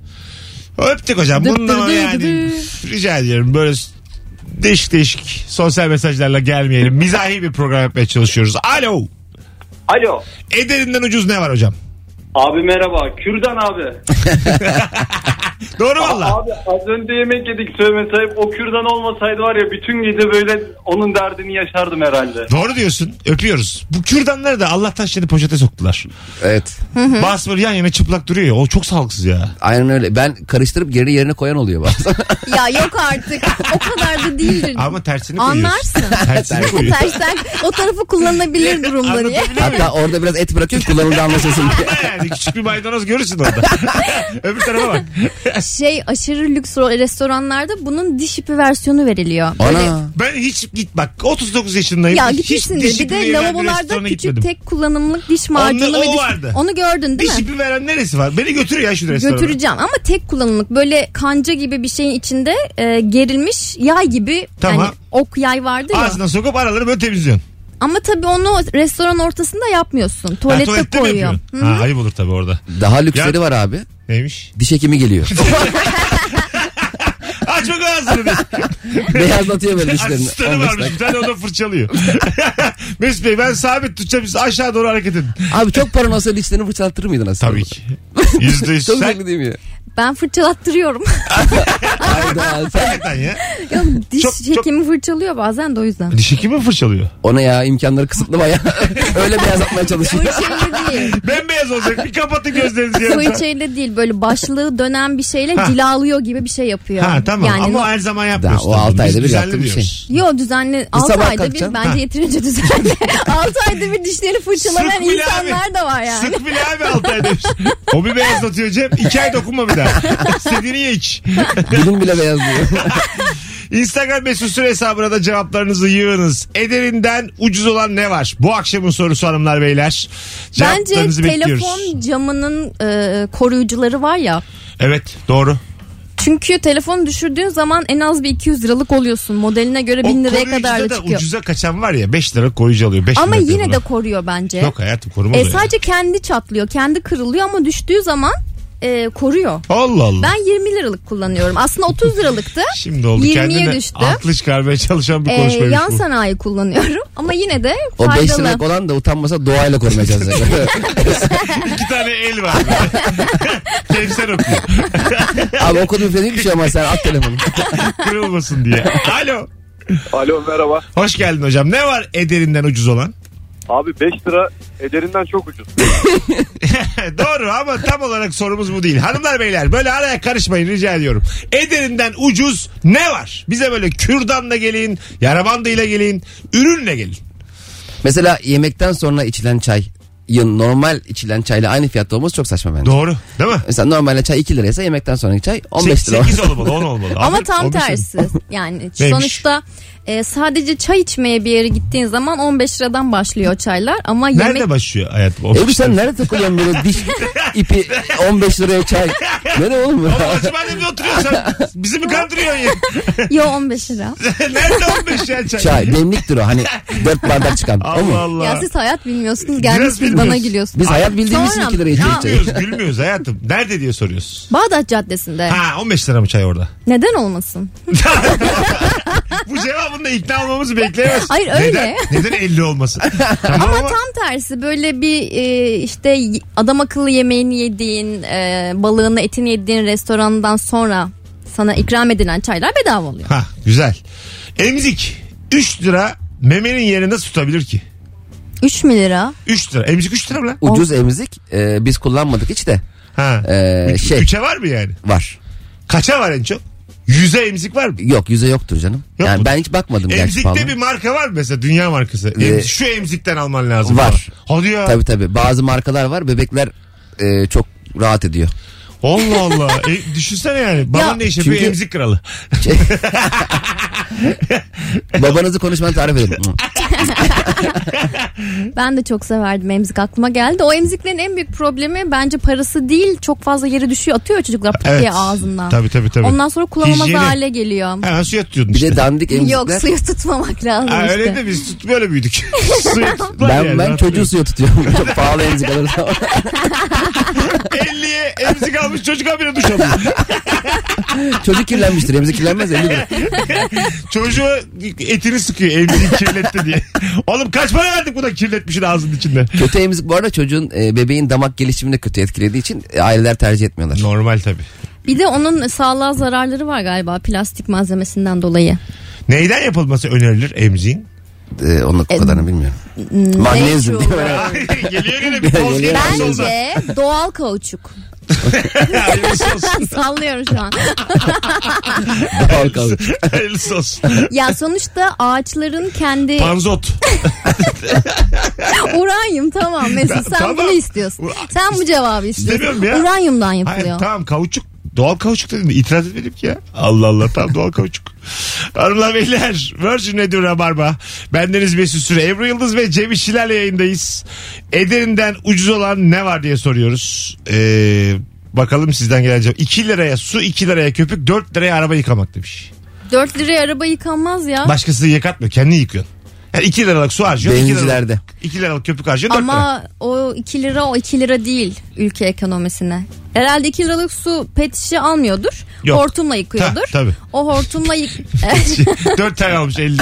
[SPEAKER 2] Öptük hocam.
[SPEAKER 3] Dıp
[SPEAKER 2] Bundan
[SPEAKER 3] dı dı
[SPEAKER 2] yani
[SPEAKER 3] dı dı.
[SPEAKER 2] rica ediyorum böyle değişik değişik sosyal mesajlarla gelmeyelim. Mizahi bir program yapmaya çalışıyoruz. Alo.
[SPEAKER 8] Alo.
[SPEAKER 2] Ederinden ucuz ne var hocam?
[SPEAKER 8] Abi merhaba. Kürdan abi.
[SPEAKER 2] Doğru valla.
[SPEAKER 8] Abi az önce yemek yedik söyleme sahip. O kürdan olmasaydı var ya bütün gece böyle onun derdini yaşardım herhalde.
[SPEAKER 2] Doğru diyorsun. Öpüyoruz. Bu kürdanları da Allah taşları poşete soktular.
[SPEAKER 4] Evet.
[SPEAKER 2] Basmır yan yana çıplak duruyor ya. O çok sağlıksız ya.
[SPEAKER 4] Aynen öyle. Ben karıştırıp geri yerine koyan oluyor bazen.
[SPEAKER 3] Ya yok artık. O kadar da değildir.
[SPEAKER 2] Ama tersini koyuyorsun.
[SPEAKER 3] Anlarsın.
[SPEAKER 2] Tersini koyuyorsun.
[SPEAKER 3] Tersten o tarafı kullanabilir durumda diye.
[SPEAKER 2] Anlatabiliyor muyum?
[SPEAKER 4] Hatta orada biraz et bırakıyor kullanıldı anlaşılsın diye.
[SPEAKER 2] yani küçük bir maydanoz görürsün orada. Öbür tarafa bak.
[SPEAKER 3] Şey aşırı lüks restoranlarda bunun diş ipi versiyonu veriliyor.
[SPEAKER 4] Ana.
[SPEAKER 2] Ben hiç git bak 39 yaşındayım.
[SPEAKER 3] Ya
[SPEAKER 2] Hiç
[SPEAKER 3] gitmişsindir.
[SPEAKER 2] diş
[SPEAKER 3] Bir
[SPEAKER 2] ipi
[SPEAKER 3] de
[SPEAKER 2] veren bir
[SPEAKER 3] lavabolarda
[SPEAKER 2] restorana
[SPEAKER 3] küçük
[SPEAKER 2] gitmedim.
[SPEAKER 3] tek kullanımlık diş macunu
[SPEAKER 2] Onda
[SPEAKER 3] ve
[SPEAKER 2] o
[SPEAKER 3] diş
[SPEAKER 2] vardı.
[SPEAKER 3] Onu gördün değil
[SPEAKER 2] Diş
[SPEAKER 3] mi?
[SPEAKER 2] ipi veren neresi var? Beni götür ya şu restorana.
[SPEAKER 3] Götüreceğim ama tek kullanımlık böyle kanca gibi bir şeyin içinde e, gerilmiş yay gibi
[SPEAKER 2] Tamam.
[SPEAKER 3] yani ok yay vardı ya.
[SPEAKER 2] Ağzına sokup araları böyle temizliyorsun.
[SPEAKER 3] Ama tabii onu restoran ortasında yapmıyorsun. Tuvalette,
[SPEAKER 2] tuvalette mi
[SPEAKER 3] koyuyor.
[SPEAKER 2] yapıyorsun? Ha, ayıp olur tabii orada.
[SPEAKER 4] Daha lüksleri
[SPEAKER 2] Ya-
[SPEAKER 4] var abi.
[SPEAKER 2] Neymiş?
[SPEAKER 4] Diş hekimi geliyor.
[SPEAKER 2] Aç bak ağzını. biz.
[SPEAKER 4] Beyazlatıyor böyle dişlerini.
[SPEAKER 2] Asistanı
[SPEAKER 4] 15
[SPEAKER 2] varmış bir
[SPEAKER 4] dakika.
[SPEAKER 2] tane o da fırçalıyor. Mesut Bey ben sabit tutacağım siz aşağı doğru hareket edin.
[SPEAKER 4] Abi çok paran olsa dişlerini fırçalattır mıydın aslında?
[SPEAKER 2] Tabii ki. Yüzde yüz.
[SPEAKER 4] Çok
[SPEAKER 2] Sen
[SPEAKER 4] zevkli değil mi? ya?
[SPEAKER 3] Ben fırçalattırıyorum.
[SPEAKER 4] Hayda, sen-
[SPEAKER 2] Hakikaten ya.
[SPEAKER 3] Ya diş
[SPEAKER 2] Çok- çok-
[SPEAKER 3] hekimi fırçalıyor bazen de o yüzden.
[SPEAKER 2] Diş hekimi mi fırçalıyor?
[SPEAKER 4] Ona ya imkanları kısıtlı baya. Öyle beyazlatmaya çalışıyor.
[SPEAKER 3] Öyle şeyle değil.
[SPEAKER 2] Bembeyaz olacak. Bir kapatın gözlerinizi
[SPEAKER 3] Su
[SPEAKER 2] yanına.
[SPEAKER 3] içeyle değil böyle başlığı dönen bir şeyle
[SPEAKER 2] Ha.
[SPEAKER 3] cilalıyor gibi bir şey yapıyor.
[SPEAKER 2] Ha tamam
[SPEAKER 3] Yani
[SPEAKER 2] ama
[SPEAKER 3] no-
[SPEAKER 2] her zaman yapmıyorsun.
[SPEAKER 4] o
[SPEAKER 2] tabii.
[SPEAKER 4] altı
[SPEAKER 2] Biz
[SPEAKER 4] ayda bir
[SPEAKER 2] düzenli
[SPEAKER 4] yaptığım bir şey.
[SPEAKER 2] diyoruz.
[SPEAKER 3] Yo düzenli 6
[SPEAKER 4] sabah
[SPEAKER 3] ayda bir
[SPEAKER 4] kalkacaksın.
[SPEAKER 3] bence
[SPEAKER 2] Ha.
[SPEAKER 3] yeterince düzenli. 6 ayda bir dişleri fırçalanan
[SPEAKER 2] Sık bile
[SPEAKER 3] insanlar
[SPEAKER 2] abi.
[SPEAKER 3] da var yani.
[SPEAKER 2] Sık bile abi 6 ayda bir. O bir beyazlatıyor Cem. 2 ay dokunma bir daha. İstediğini ye iç.
[SPEAKER 4] Dilim bile beyazlıyor.
[SPEAKER 2] Instagram mesut süre hesabına da cevaplarınızı yığınız. Ederinden ucuz olan ne var? Bu akşamın sorusu hanımlar beyler.
[SPEAKER 3] Bence
[SPEAKER 2] Cevaplarınızı bekliyoruz.
[SPEAKER 3] telefon camının e, koruyucuları var ya.
[SPEAKER 2] Evet doğru.
[SPEAKER 3] Çünkü telefonu düşürdüğün zaman en az bir 200 liralık oluyorsun. Modeline göre 1000 liraya
[SPEAKER 2] koruyucuda
[SPEAKER 3] kadar da
[SPEAKER 2] da
[SPEAKER 3] çıkıyor.
[SPEAKER 2] ucuza kaçan var ya 5 lira koyucu alıyor. 5
[SPEAKER 3] Ama
[SPEAKER 2] lira
[SPEAKER 3] yine de
[SPEAKER 2] telefonu.
[SPEAKER 3] koruyor bence.
[SPEAKER 2] Yok hayatım korumaz
[SPEAKER 3] E,
[SPEAKER 2] o ya.
[SPEAKER 3] sadece kendi çatlıyor, kendi kırılıyor ama düştüğü zaman e, koruyor.
[SPEAKER 2] Allah Allah.
[SPEAKER 3] Ben 20 liralık kullanıyorum. Aslında 30 liralıktı.
[SPEAKER 2] Şimdi oldu
[SPEAKER 3] 20'ye
[SPEAKER 2] kendine
[SPEAKER 3] düştü.
[SPEAKER 2] aklı çıkarmaya çalışan bir
[SPEAKER 3] E,
[SPEAKER 2] konuşmaymış
[SPEAKER 3] yan
[SPEAKER 2] bu.
[SPEAKER 3] sanayi kullanıyorum ama yine de
[SPEAKER 4] O 5
[SPEAKER 3] faydalı.
[SPEAKER 4] liralık olan da utanmasa doğayla korumaya çalışacak.
[SPEAKER 2] İki tane el var. Kevser okuyor.
[SPEAKER 4] Abi o konu üflenir bir şey ama sen at telefonu.
[SPEAKER 2] Kırılmasın diye. Alo.
[SPEAKER 7] Alo merhaba.
[SPEAKER 2] Hoş geldin hocam. Ne var ederinden ucuz olan?
[SPEAKER 7] Abi 5 lira ederinden çok ucuz.
[SPEAKER 2] Doğru ama tam olarak sorumuz bu değil. Hanımlar beyler böyle araya karışmayın rica ediyorum. Ederinden ucuz ne var? Bize böyle kürdanla gelin, yarabandıyla gelin, ürünle gelin.
[SPEAKER 4] Mesela yemekten sonra içilen çay yıl normal içilen çayla aynı fiyatta olması çok saçma bence.
[SPEAKER 2] Doğru değil mi?
[SPEAKER 4] Mesela normalde çay 2 liraysa yemekten sonraki çay 15 lira.
[SPEAKER 2] 8 olmalı 10 olmalı.
[SPEAKER 3] Ama
[SPEAKER 2] Aferin,
[SPEAKER 3] tam
[SPEAKER 2] 15 olmalı.
[SPEAKER 3] tersi. Yani sonuçta e, sadece çay içmeye bir yere gittiğin zaman 15 liradan başlıyor çaylar ama
[SPEAKER 2] Nerede
[SPEAKER 3] yemek
[SPEAKER 2] başlıyor hayatım?
[SPEAKER 4] Ebru E, sen nerede takılıyorsun böyle diş ipi 15 liraya çay? Ne de oğlum bu?
[SPEAKER 2] Acımanemde oturuyorsan bizi mi kandırıyorsun ya?
[SPEAKER 3] yo 15 lira.
[SPEAKER 2] Nerede 15 ya çay?
[SPEAKER 4] Çay demliktir o hani 4 bardak çıkan. o mu?
[SPEAKER 2] Allah Allah.
[SPEAKER 3] Ya siz hayat bilmiyorsunuz
[SPEAKER 2] Biraz
[SPEAKER 3] gelmişsiniz bana
[SPEAKER 2] bilmiyoruz.
[SPEAKER 3] gülüyorsunuz.
[SPEAKER 4] Biz hayat bildiğimiz için
[SPEAKER 3] Sonra-
[SPEAKER 4] 2 liraya içiyoruz çayı.
[SPEAKER 2] Gülmüyoruz gülmüyoruz hayatım. Nerede diye soruyoruz.
[SPEAKER 3] Bağdat Caddesi'nde.
[SPEAKER 2] Ha 15 lira mı çay orada?
[SPEAKER 3] Neden olmasın?
[SPEAKER 2] Bu cevabında ikna olmamızı bekleyemez.
[SPEAKER 3] Hayır, öyle.
[SPEAKER 2] Neden, neden 50 olmasın? tamam
[SPEAKER 3] Ama
[SPEAKER 2] ama-
[SPEAKER 3] tam tersi böyle bir e, işte y- adam akıllı yemeğini yediğin, e, balığını etini yediğin restorandan sonra sana ikram edilen çaylar bedava oluyor.
[SPEAKER 2] Ha güzel. Emzik 3 lira memenin yerini nasıl tutabilir ki?
[SPEAKER 3] 3 mü lira?
[SPEAKER 2] 3 lira. Emzik 3 lira mı lan?
[SPEAKER 4] Ucuz emzik e, biz kullanmadık hiç de
[SPEAKER 2] Ha.
[SPEAKER 4] Ee,
[SPEAKER 2] Üç-
[SPEAKER 4] şey-
[SPEAKER 2] Üçe var mı yani?
[SPEAKER 4] var.
[SPEAKER 2] Kaça var en çok? Yüze emzik var mı?
[SPEAKER 4] Yok yüze yoktur canım.
[SPEAKER 2] Yok
[SPEAKER 4] yani
[SPEAKER 2] mu?
[SPEAKER 4] ben hiç bakmadım gerçi
[SPEAKER 2] Emzikte
[SPEAKER 4] falan. Ee,
[SPEAKER 2] bir marka var mı mesela dünya markası? Emzik- şu emzikten alman lazım.
[SPEAKER 4] Var.
[SPEAKER 2] falan. Hadi ya.
[SPEAKER 4] Tabii tabii bazı markalar var bebekler e, çok rahat ediyor.
[SPEAKER 2] Allah Allah. E, düşünsene yani. Baban
[SPEAKER 3] Ya,
[SPEAKER 2] ne iş yapıyor?
[SPEAKER 4] çünkü-
[SPEAKER 2] Emzik kralı.
[SPEAKER 4] Babanızı konuşmanı tarif edin.
[SPEAKER 3] Ben de çok severdim emzik aklıma geldi. O emziklerin en büyük problemi bence parası değil çok fazla yere düşüyor atıyor ya çocuklar pıt diye ağzından.
[SPEAKER 2] Tabii tabii tabii.
[SPEAKER 3] Ondan sonra kullanamaz
[SPEAKER 2] Hijyeni.
[SPEAKER 3] hale geliyor.
[SPEAKER 2] Hemen suya tutuyordun
[SPEAKER 4] Bir
[SPEAKER 2] işte.
[SPEAKER 4] de dandik emzikler.
[SPEAKER 3] Yok suyu tutmamak lazım
[SPEAKER 2] Ha,
[SPEAKER 3] işte.
[SPEAKER 2] öyle de biz tut böyle büyüdük. suya tuttular
[SPEAKER 4] Ben,
[SPEAKER 2] yani.
[SPEAKER 4] ben çocuğu suya tutuyorum. Çok pahalı emzik alırsam.
[SPEAKER 2] 50'ye emzik almış çocuk habire duş alıyor.
[SPEAKER 4] Çocuk kirlenmiştir. Emzik kirlenmez. elli lira.
[SPEAKER 2] Çocuğu etini sıkıyor emziği kirletti diye. Oğlum kaç para verdik buna kirletmişin ağzının içinde.
[SPEAKER 4] Kötü emzik bu arada çocuğun e, bebeğin damak gelişimini kötü etkilediği için e, aileler tercih etmiyorlar.
[SPEAKER 2] Normal tabii.
[SPEAKER 3] Bir de onun sağlığa zararları var galiba plastik malzemesinden dolayı.
[SPEAKER 2] Neyden yapılması önerilir emziğin?
[SPEAKER 4] E, onun
[SPEAKER 3] E,
[SPEAKER 4] kadarını bilmiyorum. Magnezyum.
[SPEAKER 3] Nature.
[SPEAKER 2] Geliyor gene bir toz geliyor soldan.
[SPEAKER 3] Bence doğal kauçuk.
[SPEAKER 2] Hayırlısı olsun.
[SPEAKER 3] Sallıyorum şu an.
[SPEAKER 4] Doğal kalın.
[SPEAKER 2] Hayırlısı olsun.
[SPEAKER 3] Ya sonuçta ağaçların kendi
[SPEAKER 2] Panzot.
[SPEAKER 3] uranyum tamam Mesut sen
[SPEAKER 2] Tamam.
[SPEAKER 3] bunu istiyorsun. Sen bu cevabı istiyorsun.
[SPEAKER 2] İstemiyorum ya.
[SPEAKER 3] Uranyumdan
[SPEAKER 2] Hayır
[SPEAKER 3] yapılıyor.
[SPEAKER 2] tamam kauçuk. Doğal kauçuk dedim de itiraz etmedim ki ya. Allah Allah tamam doğal kauçuk. Hanımlar beyler Virgin Radio Rabarba. Bendeniz Mesut Süre, Ebru Yıldız ve Cem İşçiler yayındayız. Ederinden ucuz olan ne var diye soruyoruz. Ee, bakalım sizden gelen cevap. 2 liraya su 2 liraya köpük 4 liraya araba yıkamak demiş.
[SPEAKER 3] 4 liraya araba yıkanmaz ya.
[SPEAKER 2] Başkası yıkatmıyor kendi yıkıyorsun. Yani 2 liralık su harcıyorsun. 2 liralık,
[SPEAKER 4] Benzincilerde.
[SPEAKER 2] 2 liralık köpük harcıyorsun 4 lira.
[SPEAKER 3] Ama o 2 lira o 2 lira değil ülke ekonomisine. Herhalde 2 liralık su pet şişe almıyordur.
[SPEAKER 2] Yok.
[SPEAKER 3] Hortumla yıkıyordur.
[SPEAKER 2] Ta- tabii.
[SPEAKER 3] O hortumla yık...
[SPEAKER 2] Dört tane almış 50.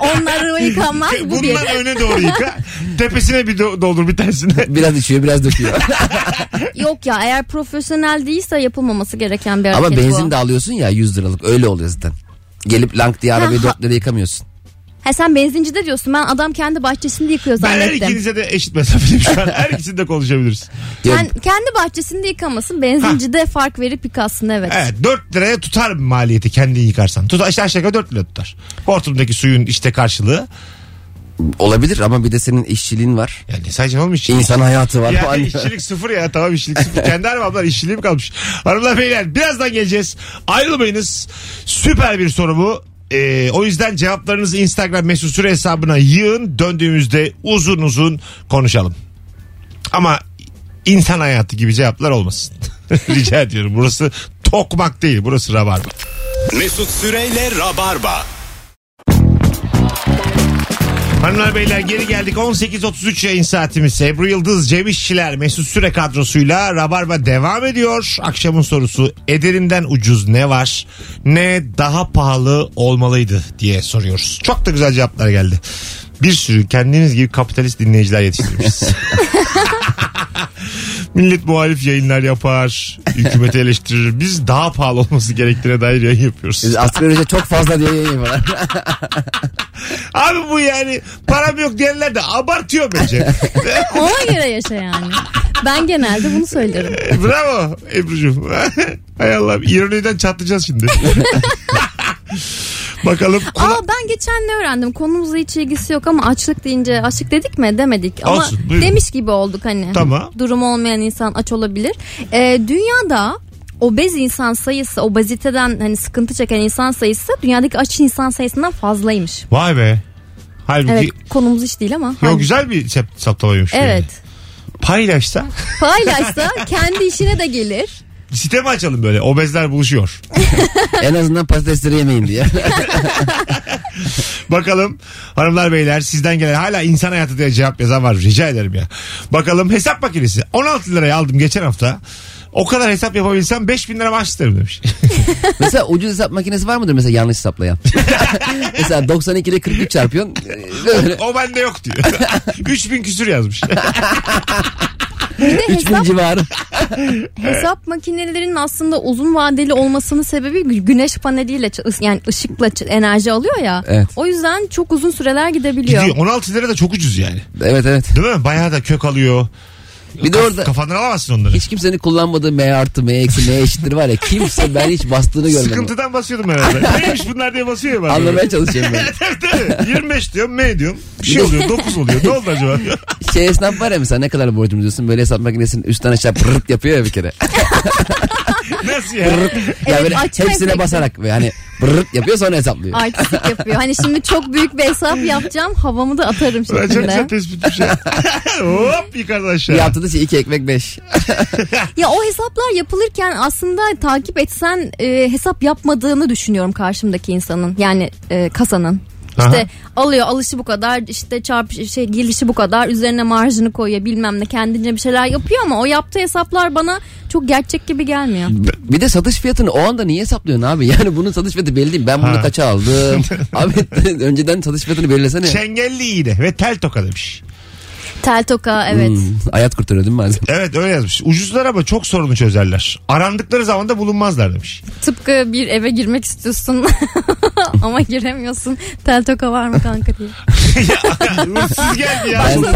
[SPEAKER 3] Onlar yıkanmaz bu bir.
[SPEAKER 2] Bunlar öne doğru yıka. Tepesine bir do- doldur bir tanesini.
[SPEAKER 4] Biraz içiyor biraz döküyor.
[SPEAKER 3] Yok ya eğer profesyonel değilse yapılmaması gereken bir hareket
[SPEAKER 4] Ama benzin
[SPEAKER 3] bu.
[SPEAKER 4] de alıyorsun ya 100 liralık öyle oluyor zaten. Gelip lank diye arabayı
[SPEAKER 3] Ha,
[SPEAKER 4] 4 liraya yıkamıyorsun.
[SPEAKER 3] Ha sen benzincide diyorsun. Ben adam kendi bahçesinde yıkıyor
[SPEAKER 2] Ben her
[SPEAKER 3] zannettim.
[SPEAKER 2] ikinize de eşit mesafedeyim şu an. Her ikisini de konuşabiliriz.
[SPEAKER 4] Yok,
[SPEAKER 3] Sen kendi bahçesinde yıkamasın. Benzincide fark verip yıkasın evet.
[SPEAKER 2] Evet 4 liraya tutar maliyeti kendin yıkarsan. Tut, aşağı aşağı 4 şey lira tutar. Hortumdaki suyun işte karşılığı.
[SPEAKER 4] olabilir ama bir de senin işçiliğin var.
[SPEAKER 2] Yani sadece olmuş.
[SPEAKER 4] İnsan hayatı var.
[SPEAKER 2] Ya
[SPEAKER 4] falan.
[SPEAKER 2] işçilik sıfır ya tamam işçilik sıfır. Kendi arabamlar işçiliği mi kalmış? Hanımlar beyler birazdan geleceğiz. Ayrılmayınız. Süper bir soru bu. Ee, o yüzden cevaplarınızı Instagram mesut süre hesabına yığın. Döndüğümüzde uzun uzun konuşalım. Ama insan hayatı gibi cevaplar olmasın. Rica ediyorum. Burası tokmak değil. Burası rabarba.
[SPEAKER 1] Mesut Süreyle Rabarba.
[SPEAKER 2] Hanımlar beyler geri geldik 18.33 yayın saatimiz Ebru Yıldız, Cem İşçiler, Mesut Süre kadrosuyla Rabarba devam ediyor. Akşamın sorusu ederinden ucuz ne var ne daha pahalı olmalıydı diye soruyoruz. Çok da güzel cevaplar geldi. Bir sürü kendiniz gibi kapitalist dinleyiciler yetiştirmişiz. Millet muhalif yayınlar yapar, hükümeti eleştirir. Biz daha pahalı olması gerektiğine dair yayın yapıyoruz.
[SPEAKER 4] Biz astrolojiye çok fazla diye yayın var.
[SPEAKER 2] Abi bu yani param yok diyenler de abartıyor bence.
[SPEAKER 3] Ona göre yaşa yani. Ben genelde bunu söylerim.
[SPEAKER 2] E, Bravo Ebru'cum. Hay Allah'ım ironiden çatlayacağız şimdi. Bakalım. kula-
[SPEAKER 3] Aa ben geçen ne öğrendim? Konumuzla hiç ilgisi yok ama açlık deyince açlık dedik mi? Demedik. Ama
[SPEAKER 2] Olsun, buyurun.
[SPEAKER 3] demiş gibi olduk hani.
[SPEAKER 2] Tamam.
[SPEAKER 3] Durumu olmayan insan aç olabilir. Ee, dünyada obez insan sayısı, obeziteden hani sıkıntı çeken insan sayısı dünyadaki aç insan sayısından fazlaymış.
[SPEAKER 2] Vay be. Halbuki
[SPEAKER 3] Evet, konumuz hiç değil ama.
[SPEAKER 2] Yo,
[SPEAKER 3] Hani-
[SPEAKER 2] güzel bir sep- saptamaymış. yani.
[SPEAKER 3] Evet.
[SPEAKER 2] Paylaşsa
[SPEAKER 3] Paylaşsa kendi işine de gelir.
[SPEAKER 2] site mi açalım böyle obezler buluşuyor.
[SPEAKER 4] en azından patatesleri yemeyin diye.
[SPEAKER 2] Bakalım hanımlar beyler sizden gelen hala insan hayatı diye cevap yazan var rica ederim ya. Bakalım hesap makinesi 16 liraya aldım geçen hafta. O kadar hesap yapabilsem 5000 lira maaş isterim demiş.
[SPEAKER 4] mesela ucuz hesap makinesi var mıdır mesela yanlış hesaplayan? mesela 92 ile 43 çarpıyorsun. Böyle
[SPEAKER 2] o bende yok diyor. 3000 küsür yazmış.
[SPEAKER 3] Bir de
[SPEAKER 4] 3000
[SPEAKER 3] hesap,
[SPEAKER 2] şey-
[SPEAKER 4] civarı.
[SPEAKER 3] hesap makinelerinin aslında uzun vadeli olmasının sebebi gü- güneş paneliyle ç- yani ışıkla ç- enerji alıyor ya.
[SPEAKER 4] Evet.
[SPEAKER 3] O yüzden çok uzun süreler gidebiliyor.
[SPEAKER 2] Gidiyor. 16 lira da çok ucuz yani.
[SPEAKER 4] Evet evet.
[SPEAKER 2] Değil mi? Bayağı da kök alıyor.
[SPEAKER 4] Bir de
[SPEAKER 2] Kaf-
[SPEAKER 4] orada
[SPEAKER 2] Kafandan alamazsın onları.
[SPEAKER 4] hiç kimsenin kullanmadığı M artı M eksi M eşittir var ya. Kimse ben hiç bastığını görmedim.
[SPEAKER 2] Sıkıntıdan basıyordum herhalde. Neymiş bunlar diye basıyor ya bana.
[SPEAKER 4] Anlamaya çalışıyorum ben.
[SPEAKER 2] Tabii, tabii. 25 diyorum M diyorum. Bir şey oluyor 9 oluyor. Ne oldu acaba? diyor.
[SPEAKER 4] Şey esnaf var ya mesela ne kadar borcumuz diyorsun böyle hesap makinesinin üstten aşağı pırırt yapıyor ya bir kere.
[SPEAKER 2] Nasıl ya?
[SPEAKER 4] Ya
[SPEAKER 3] Evet,
[SPEAKER 4] böyle
[SPEAKER 3] açma
[SPEAKER 4] hepsine
[SPEAKER 3] efekti.
[SPEAKER 4] basarak ve hani pırırt yapıyor sonra hesaplıyor.
[SPEAKER 3] Artistik yapıyor. Hani şimdi çok büyük bir hesap yapacağım. Havamı da atarım
[SPEAKER 2] Ben çok güzel
[SPEAKER 3] şeklinde.
[SPEAKER 2] tespit bir şey. Hop yukarıdan aşağı.
[SPEAKER 4] Bir haftada şey iki ekmek beş.
[SPEAKER 3] Ya o hesaplar yapılırken aslında takip etsen e, hesap yapmadığını düşünüyorum karşımdaki insanın. Yani e, kasanın. İşte alıyor alışı bu kadar işte çarp şey gelişi bu kadar üzerine marjını koyuyor bilmem ne kendince bir şeyler yapıyor ama o yaptığı hesaplar bana çok gerçek gibi gelmiyor.
[SPEAKER 4] Bir de satış fiyatını o anda niye hesaplıyorsun abi? Yani bunun satış fiyatı belli değil. Ben bunu
[SPEAKER 2] Ha.
[SPEAKER 4] kaça aldım? abi önceden satış fiyatını belirlesene.
[SPEAKER 2] Çengelli iğne ve tel toka demiş.
[SPEAKER 3] Tel toka evet.
[SPEAKER 4] Hmm, hayat kurtarıyor değil mi bazen?
[SPEAKER 2] Evet öyle yazmış. Ucuzlar ama çok sorunu çözerler. Arandıkları zaman da bulunmazlar demiş.
[SPEAKER 3] Tıpkı bir eve girmek istiyorsun ama giremiyorsun. Tel toka var mı kanka diye.
[SPEAKER 2] Hırsız geldi ya.
[SPEAKER 4] Ben tam